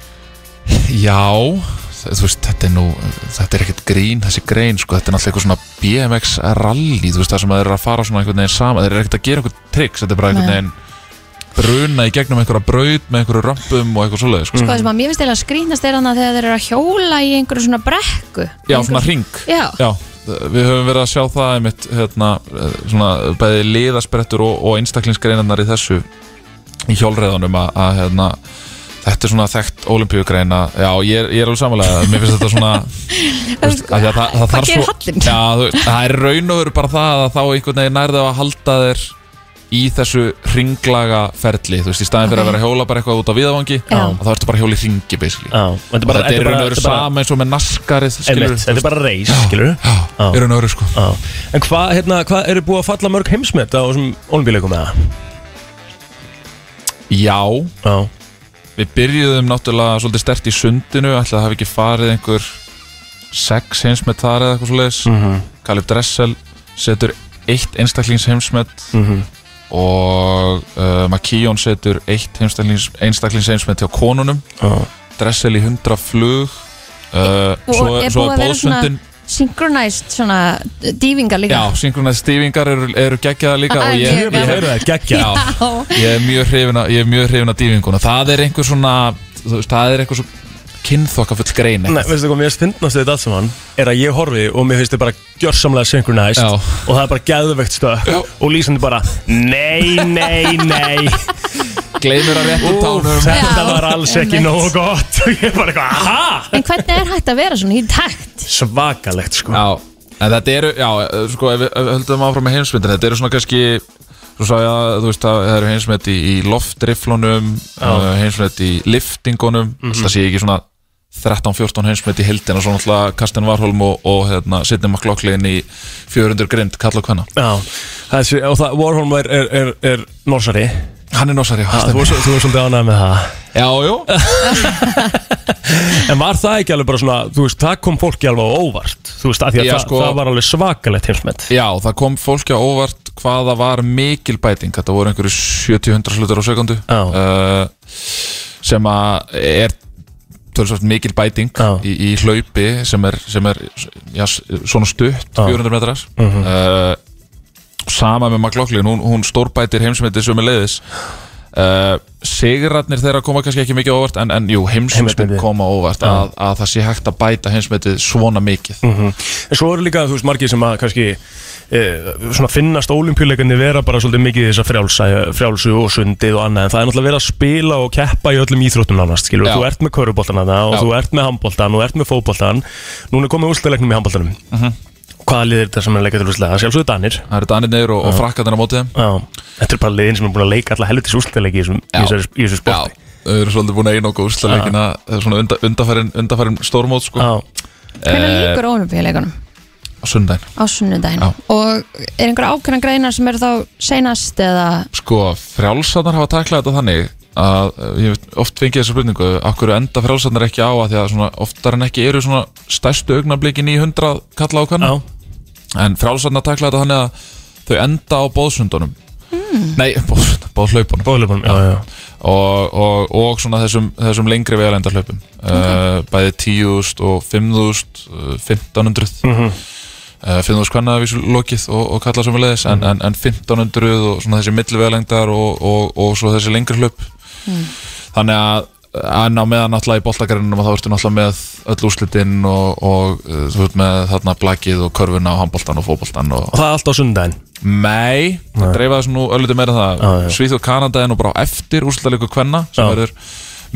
Já, þ- þú veist, þetta er nú þetta er ekkert grín, þessi grein sko, þetta er náttúrulega eitthvað svona BMX rally þú veist, það sem þeir eru að fara svona einhvern veginn saman þeir eru ekkert að gera einhvern triks, þetta er bara einhvern
Nei.
veginn bruna í gegnum einhverja braut með einhverju rampum og eitthvað svoleiðis sko.
Sko það sem að mér finnst eða skrýtnast er hann að þegar þeir eru að hjóla í einhverju svona brekku.
Já, svona ring
Já.
við höfum verið að sjá það einmitt, hérna, eh, svona, bæði liðasprettur og, og einstaklingsgreinarnar í þessu í hjólreðanum að, að hérna, þetta er svona þekkt olimpíugrein að, já, ég er, ég er alveg samanlega mér finnst þetta svona þú veist, af því að það, það
Hvað
þarf
gerir
svo-
hallinn?
já, þú, það er raun og veru bara það að þá einhvern veginn nærðu að halda þér í þessu ringlaga ferli, þú veist, í staðin fyrir
Ok.
að vera að hjóla bara eitthvað út á viðavangi,
Já.
að þá ertu bara að hjóla í ringi, basically
Já, og þetta
og þetta
er bara- þetta er
er raun
bara-
og veru
þetta er bara-
sama eins og með naskarið, skilur
Einmitt, þetta er bara reis, skilur Já,
í raun og veru, sko
Já. En hvað, hérna, hvað eru búið að falla mörg heimsmet á þessum olimpíuleikum eða?
Já,
Já.
Við byrjuðum náttúrulega svolítið stert í sundinu ætli að hafi ekki farið einhver sex heimsmet þar eða eitthvað svoleiðis
Mhm.
Kalib Dressel setur eitt einstaklings heimsmet
Mhm.
og uh, Makíón setur eitt einstaklings, einstaklings heimsmet hjá konunum
Já.
Dressel í 100 flug uh,
Og
svo,
er
svo
búið
er
að vera svona
bóðsundin
synchronized svona dývingar líka. Ah,
Já, synkronæð stífingar eru, eru geggjaða líka
Það
og
er
ég,
mjög gaman.
ég
Heyrðu það, geggjað.
Já,
Já.
Ég er mjög hrifin að- ég er mjög hrifin að dýfinguna Það er einhver svona þú veist, Það er einhver svona kynþokkafull grein
Nei, veistu hvað, mér finnast þetta allt saman er að ég horfi og mér finnst þetta bara gjörsamlega synchronized
Já.
og það er bara geðveikt stökk og lýsandi bara Nei, nei, nei
Gleimur að réttum tánum
Þetta
Já,
var alls ekki
einmitt.
nógu gott og ég er bara eitthvað, aha
En hvernig er hægt að vera svona í takt?
Svakalegt, sko
Já, en þetta eru, já, eh, sko, ef við ef við höldum áfram með heimsmyndin, þetta eru svona kannski, svo sá ég að, þú veist, það það eru heimsmynd í, í loftriflunum, uh, heimsmynd í liftingunum,
Mhm.
mm -hmm. það sé ég ekki svona 13-14 heimsmynd í hildin og svo náttúrulega Kastin Varholm og, og hérna, Sidney McLaughlin í 400 grind, kalla hvenna.
Já, þessi, og það, Warholm er, er, er, er norsari
Hann er norsari, já
ha, Ah, Þú þú er svolítið ánægð með það
Já, jú
En var það ekki alveg bara svona, þú veist, það kom fólki alveg á óvart Þú veist, að því að
Já,
það,
sko.
það var alveg svakalegt heimsmet
Já, það kom fólki á óvart hvaða var mikil bæting, þetta voru einhverju 70-100 slutur á sekundu uh, sem að er tölvsvægt mikil bæting í, í hlaupi sem er, sem er já, s- svona stutt,
Já.
400 metrar
Mhm.
uh, sama með McLaughlin, hún, hún stórbætir heimsmetið sem er leiðis Uh, sigurarnir þeirra koma kannski ekki mikið á óvart en, en jú, heimsmetið
Heimsmetið.
koma á óvart
Já.
að, að það sé hægt að bæta heimsmetið svona mikið
mm En svo eru líka, þú veist, margir sem að kannski e, svona finnast ólimpíuleikandi vera bara svolítið mikið þess að frjálsa, frjálsu og sundið og annað en það er náttúrulega verið að spila og keppa í öllum íþróttum nánast, skilur,
Já.
þú ert með köruboltan hana og
Já.
þú ert með handboltan og ert með fótboltan Núna er komið úrslalegnum í handboltanum mm
Mhm.
Hvaða liðir þetta sem er leikað til úrslega? Sjálfsögðu Danir
Það eru Danir neyður og, og
Já.
frakkarnir á mótið þeim
Já, þetta er bara liðin sem er búin að leika alla helvitis úrslaleiki í þessum- í þessari- í þessu sporti
Já, þau eru svolítið búin að einoka úrslaleikina svona undanfærin, undanfærin stórmót sko.
Hvernig
Eh,
líkur ólimpíuleikunum
Á sundaginn
á sunnudaginn?
Já.
Og er einhver ákveðna greinar sem eru þá seinast eða
Sko, frjálsarnar hafa taklað þetta þannig að eh, ég hef oft fengið þessa spurningu Akkur enda frjálsarnar ekki á að því að svona, oftar en ekki eru svona stærstu augnablikin í 100 kalla á kannu En frjálsarnar taklað þetta þannig að þau enda á bóðsundunum mm. Nei, bóðsund, bóðhlaupunum
Bóðhlaupunum, já, já
Og, og, og svona þessum, þessum lengri vegalenda hlaupum Bæði 10.000 og 5.000, eh, 1.500 mm
Mhm.
5.000 hvernig að vísu lokið og, og kalla samanlegis mm en, en 1500 og svona þessi millivegalengdar og, og, og svo þessi lengri hlaup
Mm.
þannig að en á meðan náttúrulega í boltakarinnum þá ertu náttúrulega með öll úslitinn og, og eh, þú ert með þarna blakið og körfuna og handboltan og fótboltan og,
Og það er alltaf á sundaginn
Nei, það dreifaði þessu nú öllítið meira það
Já, já.
Svíþjóð Kanada er nú bara á eftir úrslutaleikur kvenna sem
Já.
verður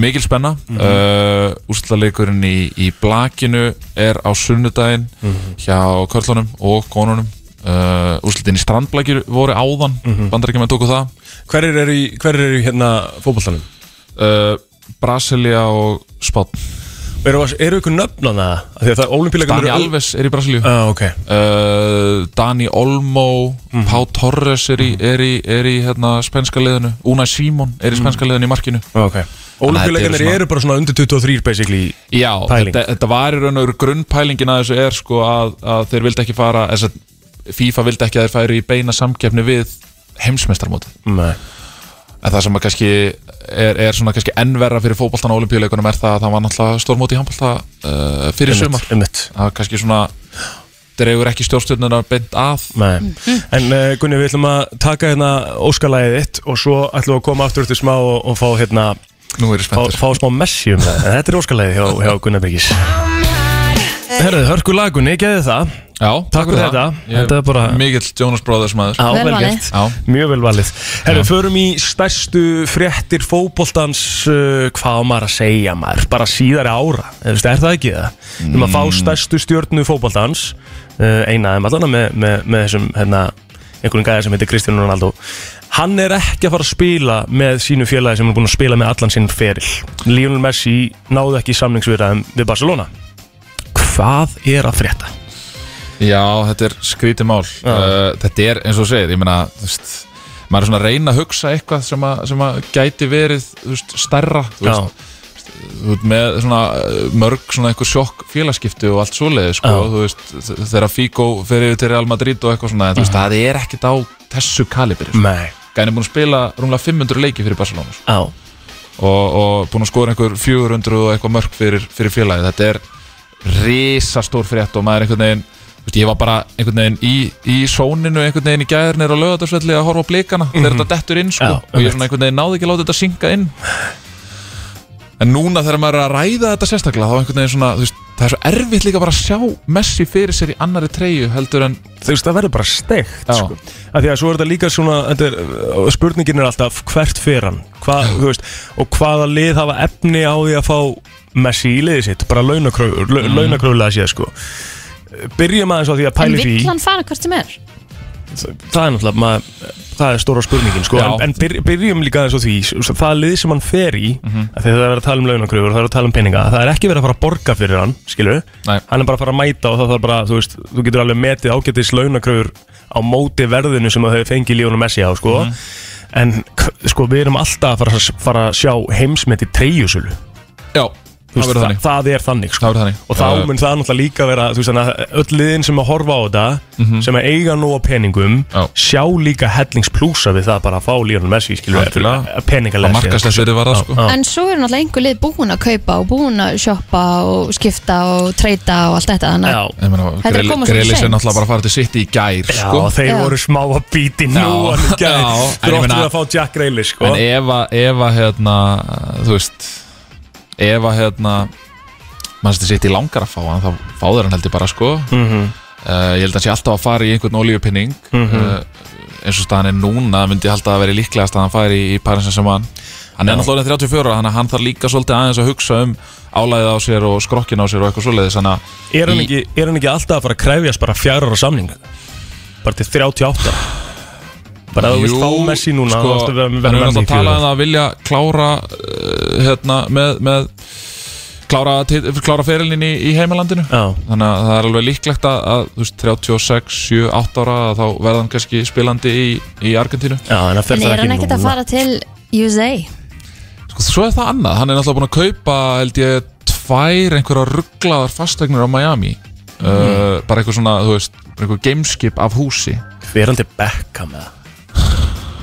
mikil spenna mm
Mhm.
Úrslutaleikurinn í, í blakinu er á sunnudaginn
Mhm.
hjá körlunum og konunum uh, Úrslutin í strandblakir voru áðan mm -hmm. tóku það
Mhm. Hverjir eru í, hver er í hérna fótballtanum?
Uh, Brasilia og Spán
Eru, eru ykkur nöfnana það? Af Því að það er olimpíuleikarnir
Dani
eru-
Alves er í Brasilíu
ah, Mhm. okay.
uh, Dani Olmo mm. Pá Torres er
Mhm.
í, er í, er í hérna, spænska liðinu Una Simon er í spænska liðinu í markinu
okay. Olimpíuleikarnir eru bara svona undir 23 basically
Já,
pæling.
þetta, þetta var í raun og veru grunnpælingin að þessu er sko að, að þeir vildi ekki fara þess að FIFA vildi ekki að þeir færi í beina samkeppni við heimsmeistarmótið
Nei.
en það sem að kannski er, er svona kannski ennverra fyrir fótboltan og olimpíuleikunum er það að það var náttúrulega stórmóti í handbolta uh, fyrir
Einmitt,
sumar það kannski svona dregur ekki stjórnstöðnuna beint að
Nei. En uh, Gunni, við ætlum að taka hérna óskalæðið þitt og svo ætlum við að koma aftur til smá og, og fá hérna
fá,
fá smá messi um það En þetta er óskalæðið hjá, hjá Gunnar Byggis Herðu, hörku lagunni, geði það
Já,
takk fyrir þetta Þetta er bara
Mikill Jonas Brothers maður
Já, vel gert. Mjög vel valið Herru, förum í stærstu fréttir fótboltans uh, hvað á maður að segja maður bara síðari ára, Eða, veist, er það ekki það? Við erum að fá stærstu stjórnu fótboltans uh, einaðum allana með, með, með þessum hérna, einhverjum gæðar sem heitir Kristján Ronaldo Hann er ekki að fara að spila með sínu félagi sem hann er búin að spila með allan sinn feril Lionel Messi náði ekki samningsviraðum við Barcelona Hvað er að frétta?
Já, þetta er skrítið mál uh, Þetta er eins og þú segir, ég meina þú veist, maður er svona að reyna að hugsa eitthvað sem að, sem að gæti verið þú veist, stærra þú
Já.
veist, þú veist, með svona uh, mörg svona einhver sjokk félagskipti og allt svoleiði sko,
Já.
þú veist, þ- þegar Figo fer yfir til Real Madrid og eitthvað svona, en, þú veist, það er ekkit á þessu kalibri sko.
Mhm. Nei.
Gæni er búin að spila rúmlega 500 leiki fyrir Barcelona sko.
Já
og, og búin að skora einhver 400 og eitthvað mörg fyrir, fyrir félagið þetta er risastór frétt og maður einhvern veginn þú veist, ég var bara einhvern veginn í, í sóninu einhvern veginn í gæðirnir á lögatarsvelli að horfa á blikana þegar þetta dettur inn sko,
Mhm. Já,
og ég svona einhvern veginn náði ekki að láta þetta synga inn en núna þegar maður er að ræða þetta sérstaklega þá einhvern veginn svona þú veist, það er svo erfitt líka bara að sjá Messi fyrir sér í annari treyju heldur en
þú veist það verður bara steikt sko. að því að svo er þetta líka svona þetta er, uh, spurningin er alltaf hvert fer hann Hva, þú veist, og hvaða lið hafa efni á því að fá Messi í liðið sitt bara launakröfulega mm. launakröfulega séð sko. byrjum aðeins á því að
En
pæli því
vill hann fara hvert sem er?
það er náttúrulega maður, það er stóra spurningin sko.
Já.
en, en byr, byrjum líka aðeins á því s- það lið sem hann fer í mm
Mhm.
-hmm. þegar það er að tala um launakröfur, það er að tala um peninga það er ekki verið að fara að borga fyrir hann, skilur
Nei.
hann er bara að fara að mæta og það þarf bara þú, veist, þú getur alveg metið ágætis launakröfur á móti verðinu sem þau hefur fengið Líónu Messi á sko.
Mhm.
en k- sko, við erum alltaf að fara, að s- fara að sjá heimsmet í treyjusölu
já,
Þú
það
veist,
verður
það,
þannig
það er þannig, sko.
Það verður þannig.
og þá
Já, já.
mun það náttúrulega líka vera þú veist, þannig að öll liðin sem að horfa á þetta
Mhm.
sem að eiga nú á peningum sjá líka hellingsplúsa við það bara að fá Lionel Messi skilur við,
Algjörlega.
peningalega
Að markaðslega fyrir var það, sko.
En svo eru náttúrulega einhver lið búin að kaupa og búin að shoppa og skipta og treyta og allt þetta þannig að-
Ég meina,
Þetta er að
Grealish-
koma svo
Grealish er
seint.
náttúrulega bara að fara til sitt í gær
Já,
sko.
þeir voru smá að bíti nú
Já,
hann í gær.
já, en
Þeir
ég
áttu
meina-
að fá Jack Grealish sko.
En ef að, ef að hérna, þú veist Ef að hérna Mannstur sitt í langar að fá hann Þá fá þeir hann heldur bara sko
Mhm.
uh, Ég held að hann sé alltaf að fara í einhvern olíupinning
Mhm.
uh, Eins og staðan er núna Myndi ég halda að veri líklegast að hann fari í, í Parinsen sem hann Hann er
Já.
náttúrulega orðinn 34 ára, Þannig að hann þarf líka svolítið aðeins að hugsa um Álæðið á sér og skrokkin á sér og eitthvað svoleiðis Þannig að
er, hann
í-
ekki, er hann ekki alltaf að fara að krefjast bara fjara ára samning bara til 38 bara að þú vilt fá Messi núna
sko,
þá ertu að vera-
hann
vera
hefur
Messi í
náttúrulega talað
fjögur.
um það að vilja klára uh, hérna, með, með klára, tit- klára ferilin í, í heimalandinu
Já.
þannig að það er alveg líklegt að, að þú veist, 36, 7, 8 ára að þá verða hann kannski spilandi í, í Argentínu
Já, en
En er hann ekkert að fara til USA?
Sko, svo er það annað, hann er náttúrulega búin að kaupa held ég tvær einhverja rugglaðar fastegnir á Miami
Mhm.
uh, bara einhver svona, þú veist einhver gameskip af húsi
Hver er hann til Beckham eða?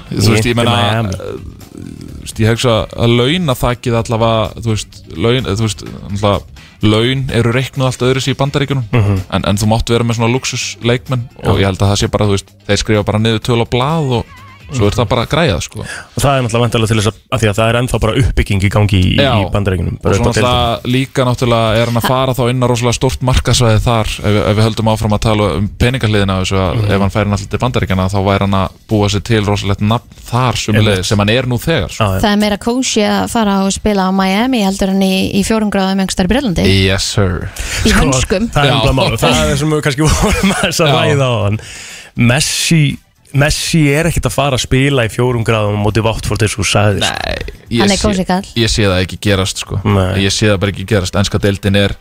Þú veist,
Í
ég menna
Miami.
uh, þú veist, ég hegsa að launa þakkið allavega, þú veist, laun, þú veist allavega, laun eru reiknuð allt öðru sér í bandaríkunum
Mhm.
en, en þú máttu vera með svona luxus leikmenn og ég held að það sé bara, þú veist, þeir skrifa bara niður töl og blað og svo er það bara að græða, sko
Mhm. Og það er náttúrulega vantarlega til þess að, að því að það er ennþá bara uppbygging í gangi í, í bandarækjunum
og svo náttúrulega líka náttúrulega er hann að fara þá inn á rosalega stort markasvæði þar ef, ef við höldum áfram að tala um peningahliðina þessu að
Mhm.
ef hann færi náttúrulega til bandaríkjana þá væri hann að búa sér til rosalegt nafn þar
Einmitt.
sumulegð sem hann er nú þegar sko.
Það er meira kósi að fara og spila á Miami heldur en í, í fjórum gráðum engstar í Brelandi
Yes sir
Í hönskum
Sko, Það er náttúrulega máli, það er það sem við kannski vorum að þess að ræða á hann Messi, Messi er ekkert að fara að spila í fjórum gráðum á móti Váttfórt eins og þú sagðir
Nei,
Hann er kósi kall
ég sé það ekki gerast sko. ég sé það bara ekki gerast ennska deildin er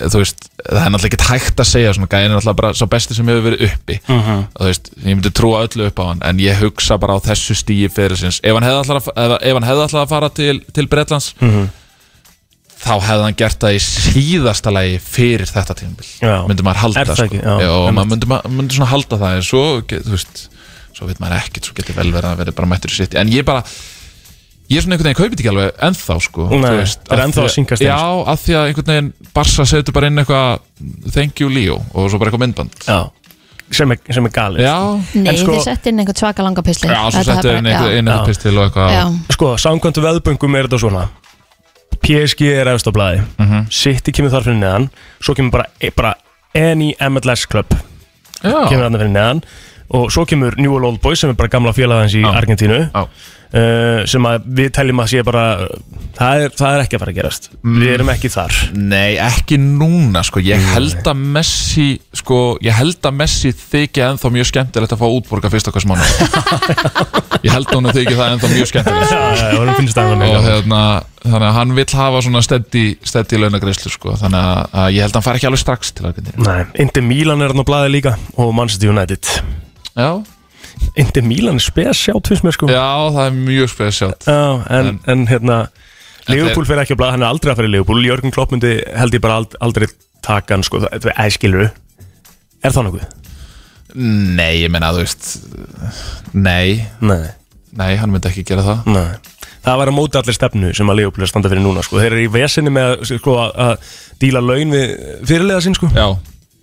eh, þú veist, það er náttúrulega ekki hægt að segja svona gæðin er náttúrulega bara sá besti sem hefur verið uppi
Mhm.
þú veist, ég myndi trúa öllu upp á hann en ég hugsa bara á þessu stíi fyrir sinns ef hann hefði alltaf ef, ef hann hefði alltaf að fara til, til Bretlands
Mhm.
þá hefði hann gert það í síðasta lagi fyrir þetta tímabil
Já.
myndi maður halda
Er það ekki? Já,
sko. Já, og
einmitt.
maður myndi, maður myndi svona halda það en svo, ge- þú veist, svo veit maður ekkert svo getur vel verið að verið bara mættur í sitt en ég bara, ég er svona einhvern veginn kaupið ekki alveg ennþá sko
Nei,
þú veist,
það er
af
ennþá
því
að synkast inn,
Já, af því að einhvern veginn Barsa setur bara inn eitthvað thank you Leo og svo bara eitthvað myndband
Já, sem er, sem er galið sko.
Já,
Nei, þið settu inn einhvern svaka langa pistil
Já, svo
Þetta er
settu
bara-
inn einhver-
já.
inn einhver pistil og eitthvað
Já.
Sko, samkvæmt veðböngum er þetta svona PSG er efst á blaði
Mhm.
City kemur þar fyrir neðan Svo kemur bara, e- bara any MLS club
Já.
Kemur þarna fyrir neðan Og svo kemur Newell Old Boys sem er bara gamla félagans í Argentínu eh,
Já.
sem að við teljum að sé bara það er, það er ekki að fara að gerast
Mm.
Við erum ekki þar
Nei, ekki núna sko Ég held að Messi sko, Ég held að Messi þykja ennþá mjög skemmtilegt að fá útborga fyrst okkar smána Ég held að hún þykja það ennþá mjög skemmtilegt
Já, hún finnst það ennþá mjög
Og hérna, þannig að hann vill hafa svona steddi, steddi launagreislu sko Þannig að- að ég held að hann fari ekki alveg strax til Argentínu
Nei, Indi Milan er hann á blaði líka og Manchester United
Já
Indi Milan er spes sjátt fyrst mér sko
Já, það er mjög spes sjátt
Já, en, en, hérna Liverpool
þeir-
fyrir ekki að blaða, hann er aldrei að fara í Liverpool Jörgen Klopp myndi held ég bara ald, aldrei taka hann sko, það er æskilur Er það nokkuð?
Nei, ég meina, þú veist Nei
Nei,
nei hann myndi ekki gera það
Nei Það var að móta allir stefnu sem að Liverpool er að standa fyrir núna sko. Þeir eru í vesinni með að, sko, að- að díla laun við fyrirlega sinn sko.
Já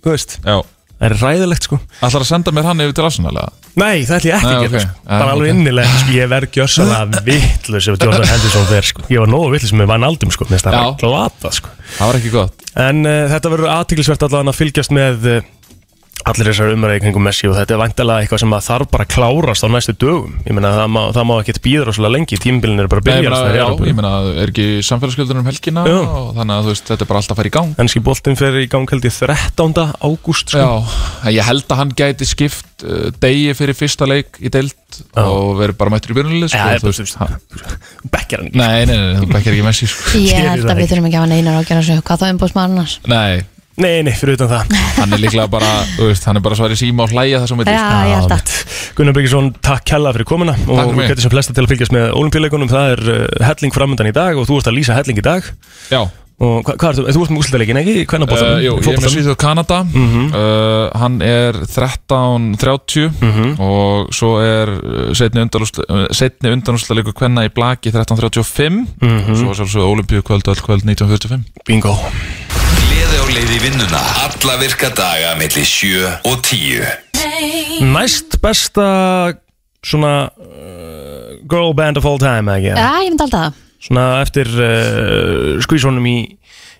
Þú veist
Já
Það er ræðilegt sko
Ætlar að senda mér hann yfir til Arsenal eða?
Nei, það ætlum ég ekki
Nei,
að gera
ok.
sko.
Ah,
Bara alveg
ok.
innilega sko. Ég verð gjössalega vitlu sem Jordan Henderson fer sko. Ég var nógu vitlu sem ég vann aldum sko. Mér finnst það
Já.
var glata sko.
Það var ekki gott
En uh, þetta verður aðtiklisvert allan að fylgjast með uh, allir þessar umræði kringum Messi og þetta er vantalega eitthvað sem að þarf bara að klárast á næstu dögum. Ég meina það má, það má ekkert býða rosalega lengi, tímbilin eru bara að
Nei, ég
byrja
meina,
alls staðar í
já,
Evrópu.
ég meina, er ekki samfélagsgjöldunum um helgina og þannig að þú veist, þetta er bara alltaf að fara í gang
Ennski boltinn fer í gang held ég 13. ágúst sko.
Já, en ég held að hann gæti skipt uh, degi fyrir fyrsta leik í deild og verið bara mættur í byrjunlið
Já,
sko,
það er
þú
bara,
veist, hann-
Bekkjar hann
Nei, nei, nei, þú bekkjar ekki Messi sko.
Ég held að við þurfum ekki að hafa neinar ágjörn á sig Hvað þá umbúðsmaður annars?
Nei,
Nei, nei, fyrir utan það
hann er líklega bara, þú veist, hann er bara svar í síma og hlæja það sem
Já, ég held að
Gunnar Byggisson, takk hella fyrir komuna
fyrir
og
mig.
við getum sem flesta til að fylgjast með olimpíuleikunum það er uh, helling framöndan í dag og þú ert að lýsa helling í dag
Já,
og hva, hvað er þú, þú ert með úslitaleikin ekki? Hvernig bóttan?
Uh, jú, ég er með Svíþjóð Kanada
Mhm.
uh, Hann er 13.30
Mhm.
og svo er uh, setni undanúsla leikur hvenna í blaki 13.35
Mhm.
og svo er svolítið olimpíu kvöld öll kvöld 19.45
Bingo
Gleði á leið í vinnuna Alla virka daga milli 7 og 10
Næst besta svona uh, girl band of all time ekki?
Já, ég myndi alltaf það
Svona eftir uh, skvísónum í,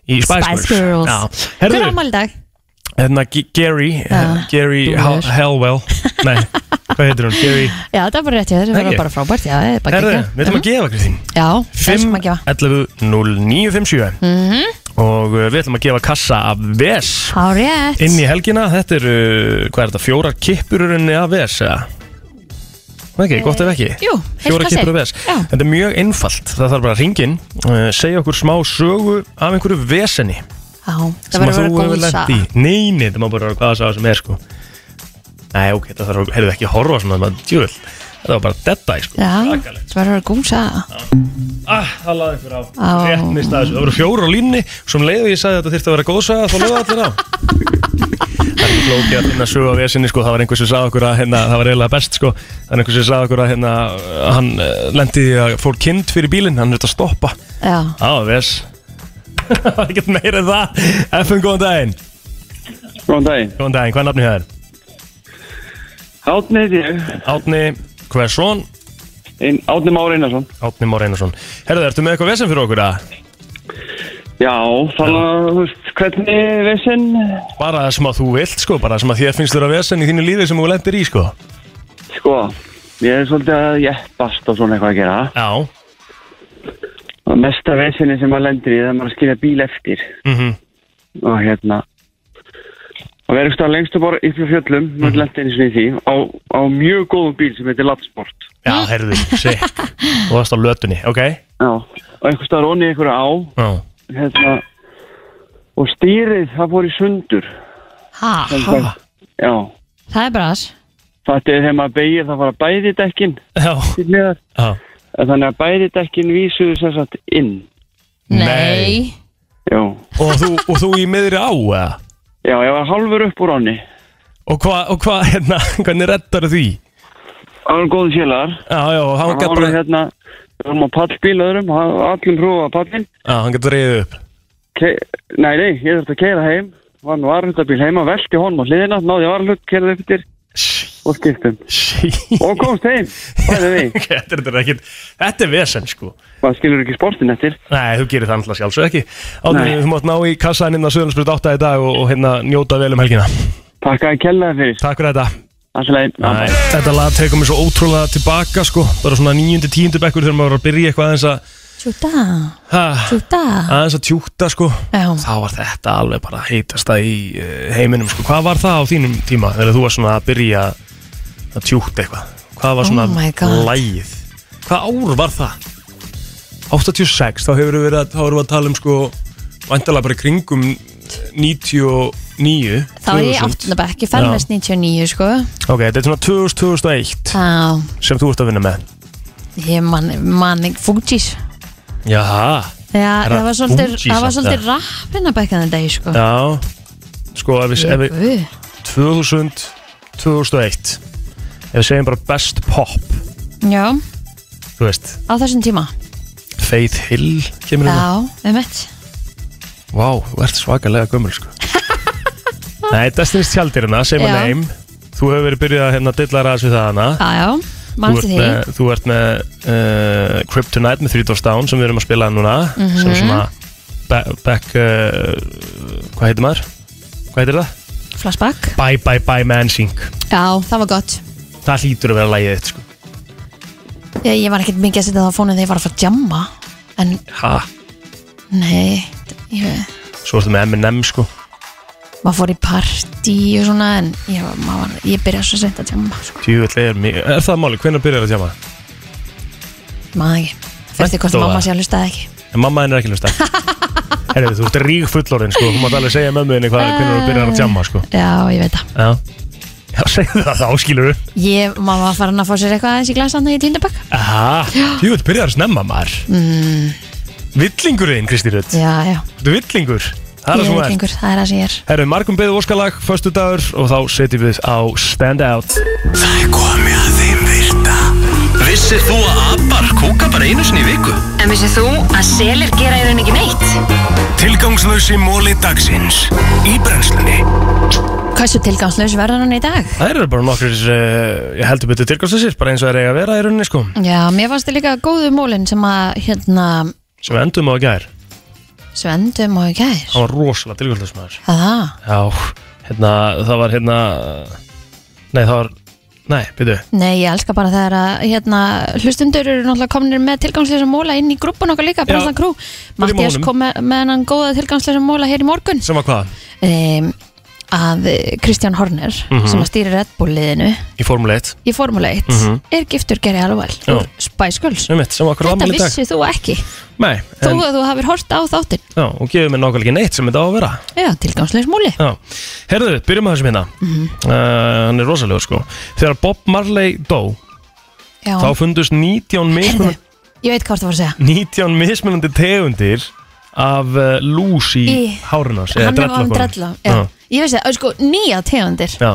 í Spice,
Spice Girls.
Já,
Hver
herðu,
ámæli dag?
hérna G- Gary hérna,
Já,
Gary
þú
Hel-
er.
Hellwell Nei, hvað heitir hún? Gary
Já, það er bara rétt hjá þér, það
Ekki?
var bara frábært Já, það er bara
Herðu,
geggjað. Mhm.
við ætlum að gefa Kristín
Já, það er sem að gefa
11 0957
Mhm.
og uh, við ætlum að gefa kassa af VES
Há rétt
uh, inn í helgina, þetta eru, hvað er þetta, fjórar kippururunni af VES eða? Það ekki, gott ef ekki
Jú, heilt
Fjóra
kassi.
kippur og ves
Já.
Þetta er mjög einfalt Það þarf bara að ringin uh, Segja okkur smá sögu af einhverju veseni
Já, það verður að vera góð saga.
Nei, nei, það má bara vera hvaða saga sem er sko Nei, ok, það þarf að Heyrðu ekki að horfa svona maður, Djúvel, þetta var bara deadeye sko
Já, það verður að vera góð saga.
Ah, það laði ykkur á
Á.
Rétt mista þessu Það voru fjóra á línni Som leið og ég sagði að þetta þyrfti að vera góðsaga Þá lögðu allir á Það er ekki flókið að finna sögu á vesinni sko. Það var einhver sem sagði okkur að hérna, Það var eiginlega best sko. Það er einhver sem sagði okkur að hérna, Hann eh, lendi í því að fór kind fyrir bílinn Hann er þetta að stoppa
Já.
Á, ves Það var ekkert meira en það FM, góðan daginn
Góðan daginn
Góðan daginn, hvað er nafnið það er?
Átni heiti ég
Átni, hvað er svon?
Ein, Átni Már Einarsson
Átni Már Einarsson Herðu, ertu með eitthvað vesen fyrir okkur að?
Já, þannig að, þú veist, hvernig vesen?
Bara það sem að þú vilt, sko, bara það sem að þér finnst þurra vesen í þínu lífi sem þú lendir í, sko.
Sko, ég er svolítið að jeppast og svona eitthvað að gera
Já
Og mesta veseni sem maður lendir í það er maður að skilja bíl eftir
Mm -hmm.
Og hérna Og við erum stað lengst upp á upp í fjöllum mm -hmm. lendir eins og í því á, á mjög góðum bíl sem heitir Lapsport
Já, herðu, sikk. Þú varst á lötunni, ok?
Já, og einhver staðar onni í einhverju á
Já.
Hérna Og stýrið, það fór í sundur
Ha, ha.
Já,
Það er bara þess.
Þetta er þegar maður beigir það fara bæði dekkin
Já Já
Þannig að bæði dekkin vísuðu sem sagt inn
Nei.
Já
Og þú, og þú í miðri á, eða?
Já, ég var halvur upp úr ánni
Og hvað, og hvað, hérna, hvernig reddar því?
Það var góði félagar
Já, já, og hann gætt bara,
hérna, við vorum á pallbíl öðrum og hann- Allir prófaði pallin
já, hann gætt reyðið upp.
Ke Nei, nei, ég þurfti að keira heim Vann varhutabíl heima, velti honum á hliðina Náði varhut, keiraði eftir Og skiptum Og komst heim
Þetta er þetta ekkert, þetta er vesen, sko.
Maður skilur ekki sportin eftir.
Nei, þú gerir það alltaf sjálfsög ekki. Átni,
Nei.
þú mátt ná í hérna kassan innan Söðunarsbyrð 8 í dag og, og hérna njóta vel um helgina.
Takk að kellaði fyrir
Takk fyrir þetta
Alltaf leið
Nei, þetta lag tekur mig svo ótrúlega tilbaka sko bara svona níundi, tíundi bekkur þegar maður var að byrja eitthvað aðeins að
Tjúta.
ha,
Tjúta.
aðeins að tjúkta sko
Já.
þá var þetta alveg bara heitasta í eh, heiminum sko, hvað var það á þínum tíma þegar þú var svona að byrja að tjúkta eitthvað, hvað var svona
Oh my God.
lægið, hvað ár var það 86 þá hefur við verið að, þá erum við að tala um sko væntalega bara í kringum 99
Þá er ég
2000.
áttunabæk, ég
Já.
ferðast 99, sko.
ok, þetta er svona 2000-2001
Já,
sem þú ert að vinna með
ég man, man, fútís.
Jaha
Já,
Er
það var svolítið,
Fugees
það var
samt,
svolítið
eða?
rappina back in the day, sko.
Já, sko ef við,
Ég
ef við 2000, 2001 Ef við segjum bara best pop
Já,
Þú veist,
á þessum tíma.
Faith Hill kemur hérna
Já, um eitt.
Vá, þú ert svakalega gömul sko Nei, Destiny's Child er hérna, segjum að
Já.
neym Þú hefur verið byrjað að hérna dilla ræðs við það hana
Já, já,
Þú
mann
ert
til því.
með, þú ert með uh, Kryptonite með 3 Doors Down sem við erum að spila núna
Mhm.
sem svona be- back uh, hvað heitir maður? Hvað heitir það?
Flashback.
Bye Bye Bye Man Sync
Já, það var gott.
Það hlýtur að vera lægið þitt sko
Ég, ég var ekkert mikið að setja það á fónu þegar ég var að fara að jamma. En,
Ha,
nei, ég...
svo ertu með M&M sko
maður fór í partí og svona en ég, var- maður, var- ég byrjaði svo sent að tjáma sko.
Tjúvill er mjög Er það máli? Hvenær byrjar að tjáma?
maður ekki, fyrir því hvort
Væntu
mamma
það.
sé að hlusta eða ekki
En mamma henni er ekki hlusta Herri, þú ert rík fullorinn sko Þú mátt alveg segja mömmu henni hvað Hvernig þú byrjar að tjáma sko
já, ég veit það
Já Já, segðu það þá skilur við
ég, maður var farin að fá sér eitthvað aðeins í glasanna í tindabökk
Aha, tjúvill byrjar að snemma maður
mm,
Villingurinn, Kristi Rutt
já, já,
Þú villingur Það er það
ég
sem þú ert
lengur það er það sem ég er
Herru, margum beðið óskalag, förstu dagur og þá setjum við á Stand Out
Það er komið að þeim virta Vissir þú að abar kúka bara einu sinni í viku?
En vissið þú að selir gera í raun ekki neitt?
Tilgangslösi móli dagsins Í brennslunni
hversu tilgangslaus verður hann í dag?
Það eru bara nokkur, uh, ég heldur betur tilgangslössir, bara eins og það er eiga að vera í rauninni sko
já, mér fannst þið líka góðu mólin sem að hérna,
sem við endum á að gær
svendum og ekki gær
hann var rosalega tilgjöldast maður
það,
já, hérna, það var hérna nei, það var nei, byrju,
nei, ég elska bara þegar að hérna, hlustundur eru náttúrulega komnir með tilgangsleisa móla inn í grúppun okkar líka,
Já.
Brenslan Krú
Byrjum á
Mattias
honum.
kom með, með hennan góða tilgangsleisa móla hér í morgun
sem var hvað
um, að eh, Kristján Horner
Mhm.
sem að stýri Red Bull liðinu
Í Formule 1
í Formule 1
Mhm.
er giftur Geri Alval
Já.
úr Spice Girls
Sem mitt, sem okkur
Þetta
ammali dag
vissið þú ekki
Nei,
þó
en,
að þú hafir hort á þáttinn
já, og gefið mér nákvæmlega ekki neitt sem þetta á að vera
Já, tilgangslegs múli
Já, herðu, byrjum að þessum hérna
Mhm.
uh, Hann er rosalegur sko Þegar Bob Marley dó
Já.
Þá fundust 19 mismunandi,
Ég veit hvað þú var að segja
19 mismunandi tegundir Af uh, lús í
Í-
hárunas
Hann er án drella já. Ég veist það, sko, nýja tegundir
Já,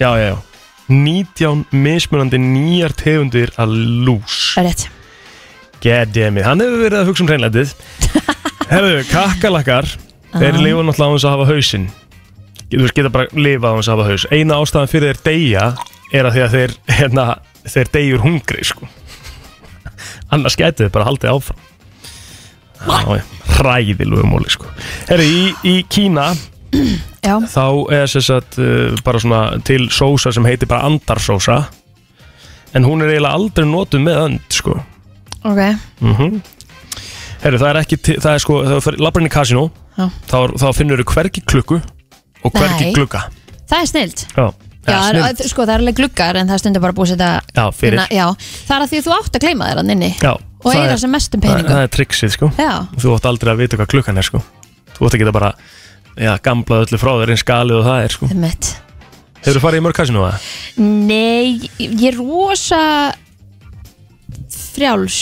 já, já, já 19 mismunandi nýjar tegundir að lús
Það er rétt
Goddammit, hann hefur verið að hugsa um hreinlætið Herðu, kakkalakkar Þeir
Ah.
lifa náttúrulega á hans að hafa hausinn Þú veist, geta bara lifa á hans að hafa haus Eina ástæðan fyrir þeir deyja Er að því að þeir, hérna, þeir deyjur hungri, sko Annars gætu þeir bara haldið áfram Já, Hræðilugum móli, sko Herðu, í, í Kína
Já.
Þá er sér satt uh, bara svona til sósa sem heitir bara andarsósa En hún er eiginlega aldrei notuð með önd, sko
Ok,
mm Herru, það er ekki til- það er sko, þegar þú fer- labbar inn í kasinó
Já.
þá, þá finnur þú hvergi klukku og hvergi
Nei.
glugga
það er snilt
Já,
Já,
það er
að,
snilld.
sko, það er alveg gluggar en það er stundum bara búið að setja
Já, fyrir.
hérna, já, Það er að því að þú átt að gleyma þér hann inni
Já,
Og
það
eira
er-
sem mestum
það,
peningum
það er triksið sko
Já,
Þú átt aldrei að vita hvað klukkan er sko Þú átt að geta bara já, gamblað öllu frá þér eins galið og það er sko
það er mitt
Hefur þú farið í mörg kasinó það?
Nei, ég er rosa frjáls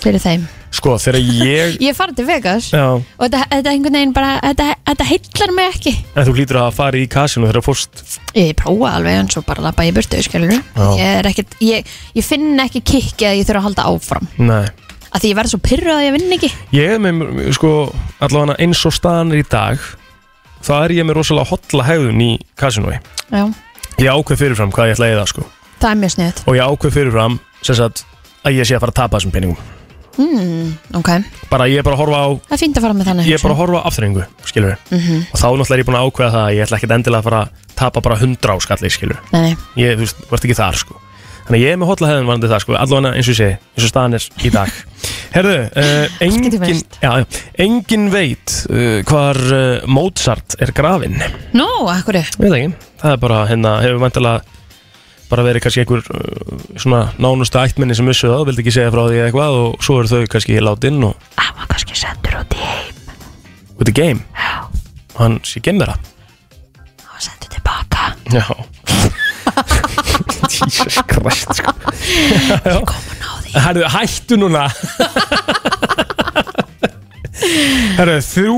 fyrir þeim
Sko, þegar ég
Ég er farin til Vegas
Já,
og þetta, þetta einhvern veginn bara, þetta, þetta heillar mig ekki
en þú lítur að fara í kasinó þegar þú fórst
Ég prófa alveg en svo bara lappa ég í burtu, skilur
Já.
ég, er ekkert, ég, ég finn ekki kikki að ég þurfa að halda áfram
Nei
að því ég verð svo pyrruð að ég vinn ekki
Ég er með, sko, allavega eins og staðan er í dag þá er ég með rosalega hotla hegðun í kasinói
Já,
Ég ákveð fyrirfram hvað ég ætla að eða sko
það er mjög sniðut
og ég ákveð fyrirfram sem sagt að ég sé að fara að tapa þessum peningum
mm, Ok,
bara ég er bara að horfa á
það er fínt að fara með þannig
ég er bara að horfa á afþrengu, skilur
Mhm.
og þá náttúrulega er ég búin að ákveða það að ég ætla ekkert endilega að fara að tapa bara 100 á skalli, skilur
Nei, nei,
ég, þú veist, vart ekki þar, sko þannig að ég er með hotla hefðin varandi það, sko allavega eins og ég segi, eins og staðan er í dag Herðu, uh, engin, já, já, engin veit uh, hvar uh, Mozart er grafinn
nú, akkur
Ég veit ekki, það er bara hérna, hefur vantilega bara verið kannski einhver uh, svona nánustu ættmenni sem vissu það, vildi ekki segja frá því eða eitthvað og svo eru þau kannski látin og
Það var kannski sendur út í heim
út í game og hann sé gemera
Það var sendur tilbaka
Já Jesus Christ sko. Ég kom að ná því Herðu, hættu núna Herðu, þrjú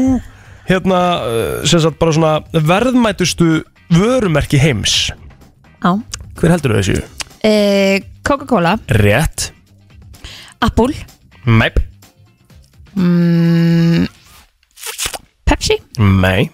hérna, uh, sem sagt bara svona verðmætustu vörumerki heims
Já.
Hver heldur þessu?
e, Coca-Cola,
Rétt
Apple
Mæp
mm, Pepsi
Nei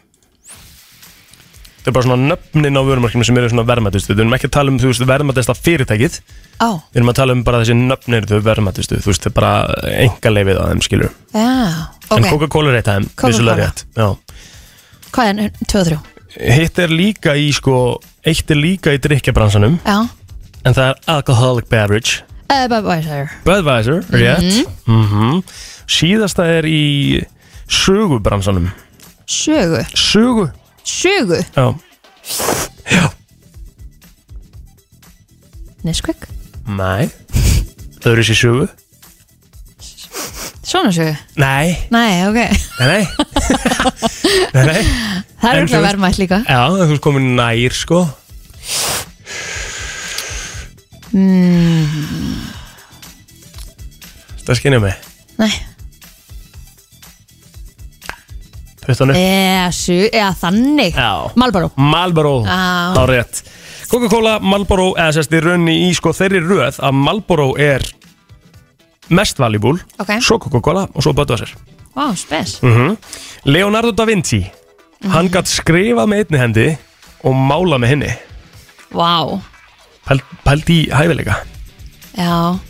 Það er bara svona nöfnin á vörumarkinu sem eru svona verðmættustu Við erum ekki að tala um, þú veist, verðmættasta fyrirtækið
Á,
Við erum að tala um bara þessi nöfnir þau verðmættustu Þú veist, það er bara enga leifið að þeim skilur
já,
En
ok
Coca-Cola er eitt af þeim,
Coca-Cola.
vissulega rétt Já.
Hvað er, 2-3
Hitt er líka í, sko, eitt er líka í drikkjabransanum
Já,
En það er alcoholic beverage
uh, Budweiser
Budweiser,
Mhm.
rétt mm Síðasta er í sögubransanum
Sögu
Sögu
Sögu
Já,
Nesquik
nei Þau eru þessi sögu
Svona sögu
Nei
Nei, ok
Nei, nei Nei, nei
Það er
En þú
örugglega
veist-
verðmætt líka.
Já, en þú ert komin nær, sko
mm,
Það skinnið mig
Nei
Puttan upp
Eða, sjö, eða þannig Ah.
Já.
Malbaró
Malboro
Já.
Þá rétt Coca-Cola, Malboro Eða sérst í raunni í, sko, þeirri röð Að Malboro er Mest valuable
Ok.
Svo Coca-Cola og svo Budweiser
Vá, spes
mm Leonardo da Vinci Hann
Mhm.
gatt skrifað með einni hendi Og mála með henni
Vá,
Pælt, pælt í hæfileika
já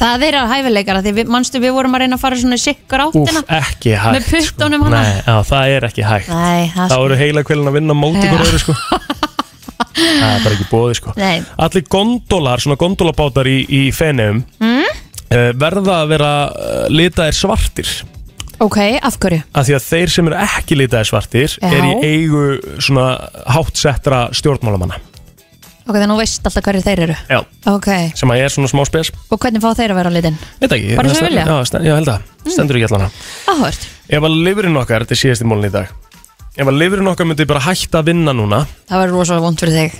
Það er að hæfileikara því við, manstu við vorum að reyna að fara svona sikkur
Úf,
áttina
ekki hægt
hérna. Með puttunum
sko.
hana.
Nei, já, það er ekki hægt
Nei, það sko-
Þá eru heila kvölin að vinna móti
Já.
ykkur öðru sko Það er bara ekki bóði sko
Nei.
Allir gondolar, svona gondolabátar í, eh, í fenegum
mm?
uh, verða að vera uh, litaðir eh, svartir
Ok, af hverju?
að því að þeir sem eru ekki litaði svartir
Já.
er í eigu svona háttsettra stjórnmálamanna
Ok, þannig að þú veist alltaf hverju þeir eru
já.
Ok,
sem að ég er svona smá spes
og hvernig fá þeir að vera á litin?
Veit ekki, það
Bara sem
sten-
vilja? Hmm.
Já, sten, já, held að, stendur ekki allan að
Áhört
Ef að lifurinn okkar, þetta er síðast í mólun í dag Ef að lifurinn okkar myndi bara hætta að vinna núna
Það var rosalega vond fyrir þig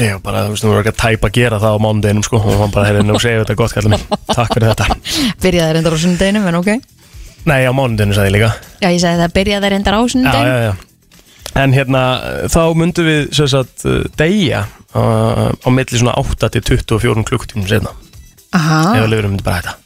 Ég var bara, þú veist, þú voru ekki að tæpa að gera það á mánudeginum sko Og hann bara, heyrði, nú segir þetta gott, kallar minn Takk fyrir þetta
Byrjaði reyndar á sunnudeginu, en ok
Nei, á mánudeginu sagði ég líka
Já, ég sagði það, byrjaði reyndar á
já,
sunnudeginu
já, já. En hérna, þá myndum við sem sagt uh, deyja uh, á milli svona 8 til 24 klukkutímum setna
Aha,
ef að lifurum myndi bara hætta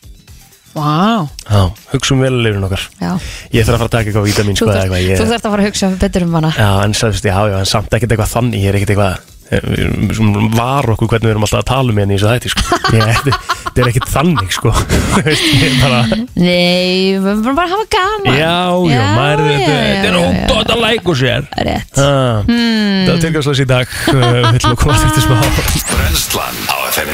vá wow.
Já, hugsum vel að lifurinn okkar
Já.
Ég þarf að fara að taka eitthvað vítamín
Þú
sko, eða
þarft
eitthvað,
þú
ég,
þarft að fara að hugsa betur um hana
Já, en sagðist, já, já, en samt ekkert eitthvað þannig Ég er ekkert eitthvað eh, við erum- við erum var okkur hvernig við erum alltaf að tala um henni í þessu þætti sko. Ég- þetta þetta er ekkert þannig sko. Þú veist, ég er bara,
Nei, við verðum bara að hafa gaman
já, já, maður er-
já,
þetta
já,
þetta er
já,
ótt
já.
og þetta lækur sér
Rétt Hmm.
Það er tilgjáðslega í dag eh, Við ætlum að koma aftur til smá
Brennslan á FM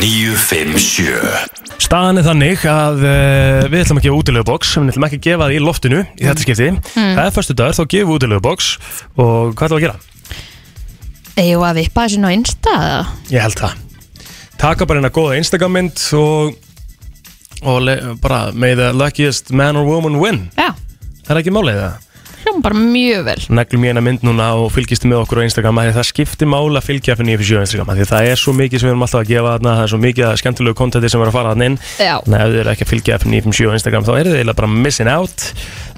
957
Staðan er þannig að uh, við ætlum að gefa útilegubóks sem við ætlum ekki að gefa það í loftinu í
Hmm.
þetta skipti. Það er förstu dagur, þá gefum við útilegubóks og hvað ætlum við að gera?
Eigum við að vippa þessu ná einsta eða?
Ég held það. Taka bara eina góða Instagram mynd og, og le, bara may the luckiest man or woman win.
Já.
Það er ekki málið það.
Hljóma bara mjög vel
Neglum ég eina mynd núna og fylgist með okkur á Instagram af því að það skiptir máli að fylgja fyrir 957 Instagram af því að það er svo mikið sem við erum alltaf að gefa þarna, það er svo mikið að skemmtilegu kontenti sem er að fara þarna inn
Já.
Þannig að ef þið eru ekki að fylgja F957 á Instagram þá eru þið eiginlega bara missing out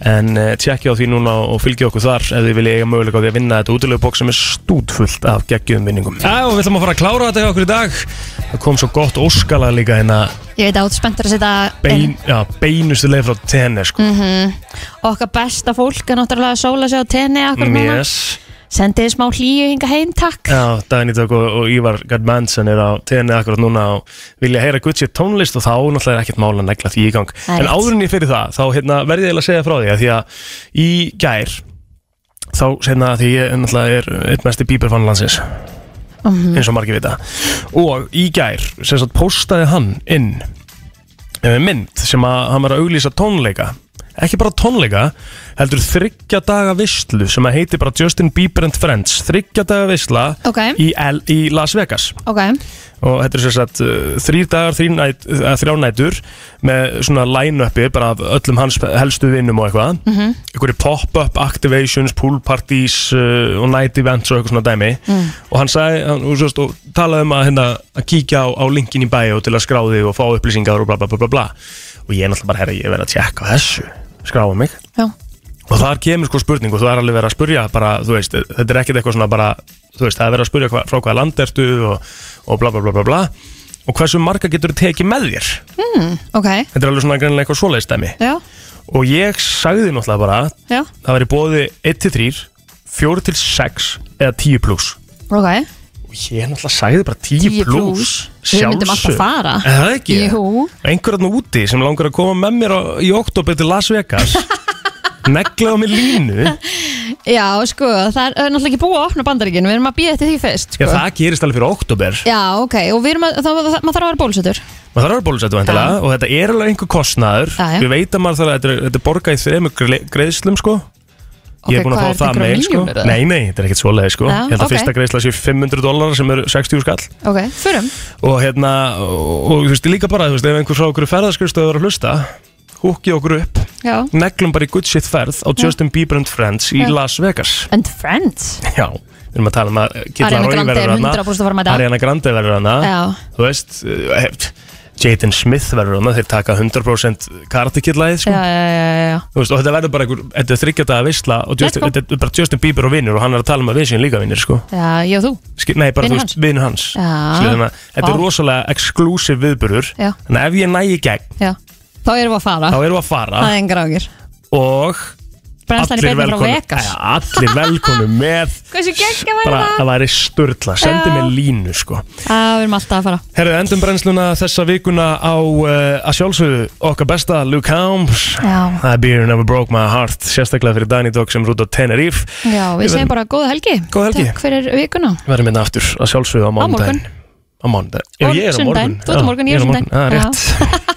en uh, tjekkja á því núna og fylgja okkur þar ef þið viljið eiga möguleika á því að vinna þetta útilegu bók sem er stútfullt af geggjum vinningum Já og við ætlum að fara að klára þetta hjá okkur í dag Það kom svo gott óskalag líka hérna
Ég veit að þú ert spenntur að setja
bein, já, beinustu leið frá tenni sko.
mm Okkar besta fólk er náttúrulega að sóla sig á tenni akkur núna
Mm, yes.
Sendið smá hlýju hinga heim, takk
Já, Dagný Dögg og, og Ívar Gardmansen er á tenni akkurat núna og vilja heyra gutt sér tónlist og þá náttúrulega er ekkert mál að negla því í gang.
Það er
En
rétt.
áður en ég fyrir það, þá hérna, verði ég eiginlega að segja frá því að því að í gær, þá hérna því ég náttúrulega er eitt mesti bíberfann landsins,
Mhm.
Mm. eins og margir vita. Og í gær, sem sagt, postaði hann inn eh, mynd sem að hann var að auglýsa tónleika ekki bara tónleika, heldur þryggja daga vistlu sem að heiti bara Justin Bieber and Friends, þryggja daga vistla
Ok.
í, L, í Las Vegas
Ok,
og þetta er sem sagt uh, þrýr dagar, þrýr næt, uh, þrjá nætur með svona line-upi bara af öllum hans helstu vinnum og eitthvað mm
Mhm.
einhverju pop-up activations, pool parties uh, og night events og eitthvað svona dæmi
Mm.
og hann sagði, hann, og, sérst, og talaði um að, hérna, að kíkja á, á linkin í bæu til að skrá þig og fá upplýsingar og bla bla bla bla bla og ég er náttúrulega bara, herra, ég verð að tjekka á þessu skráa mig
Já.
og þar kemur sko spurning og þú er alveg verið að spurja bara, þú veist, þetta er ekkert eitthvað svona bara þú veist, það er verið að spurja hva, frá hvaða land ertu og, og bla bla bla bla bla og hversu marga getur tekið með þér
mm, ok,
þetta er alveg svona greinlega eitthvað svoleiðstæmi
já,
og ég sagði náttúrulega bara
já,
það væri bóði 1-3 4-6 eða 10 pluss
ok
og ég náttúrulega sagði bara 10, pluss
10 plús. Við myndum alltaf fara.
Er það ekki?
Jú.
Einhverjarn úti sem langar að koma með mér á, í oktober til Las Vegas neglaði á mig línu
Já, sko, það er það er náttúrulega ekki búið að opna bandaríkinu Við erum að býja eftir því fyrst, sko
Já, það gerist alveg fyrir oktober
Já, ok, og við erum að, þá, það, maður þarf að vera bólusettur
maður þarf að bólusetja vantilega og þetta er alveg einhver kostnaður
Já, já.
við veit að maður þarf að þetta er, þetta er borga í þremur gre- greiðslum sko ég
Ok,
er búin að
hvað
fá
er þetta,
það
einhverjar
meil sko
milljónir, eða?
nei, nei, þetta er ekkert svoleiði sko
Já,
ég held að
ok.
fyrsta greiðsla sé 500 dólarar sem eru 60 skall
Ok, förum
og hérna, og, og þú veist, líka bara þú veist, ef einhver frá okkur ferðarskurstöður að hlusta húkja okkur upp
Já,
neglum bara í good shit ferð á
Já.
Justin Bieber and Friends í
Já.
Las Vegas
and friends
já, við erum að tala um að Kid
Ariana
Laroi
Grande
verður
er
þarna,
100% að fara með þetta.
Ariana Grande verður hana
Já.
þú veist eh, Jaden Smith verður hana þeir taka 100% Karate Kid lagið
Já,
sko.
já, já, já, já
Þú veist, og þetta verður bara einhver þetta er þryggjata að visla og Justin,
Let's go.
þetta er bara Justin Bieber og vinnur og hann er að tala um að vinsinn líka vinnur sko.
Já, ég og þú
Ski- nei, bara
Vinur
þú veist, vinnur hans
Já.
Skilur, þannig að þetta er
Ah. Vá.
rosalega exclusive viðburður
Já.
en ef ég næ í gegn
Já, þá erum við að fara
þá erum við að fara
Það er engar ágjur
og
Brennslan í
allir
beinni frá
velkomnir-
Vegas.
Já, allir velkonu með
Hversu geggja væri
bara,
það?
það væri sturla, sendi
Já.
mig línu sko.
Já, við erum alltaf að fara
Herðu, endum brennsluna þessa vikuna á uh, að sjálfsögðu okkar besta Luke Combs
Já.
That beer never broke my heart sérstaklega fyrir Danny Dog sem er út á Tenerife
Já, við segjum bara góða helgi
Góða helgi.
Takk fyrir vikuna
verðum hérna aftur að sjálfsögðu á mánudaginn á mánudaginn, já
Og
ég er á morgun
sunnudaginn. Þú ert á
Já,
morgun, ég er á
á morgun.
sunnudaginn.
Já, rétt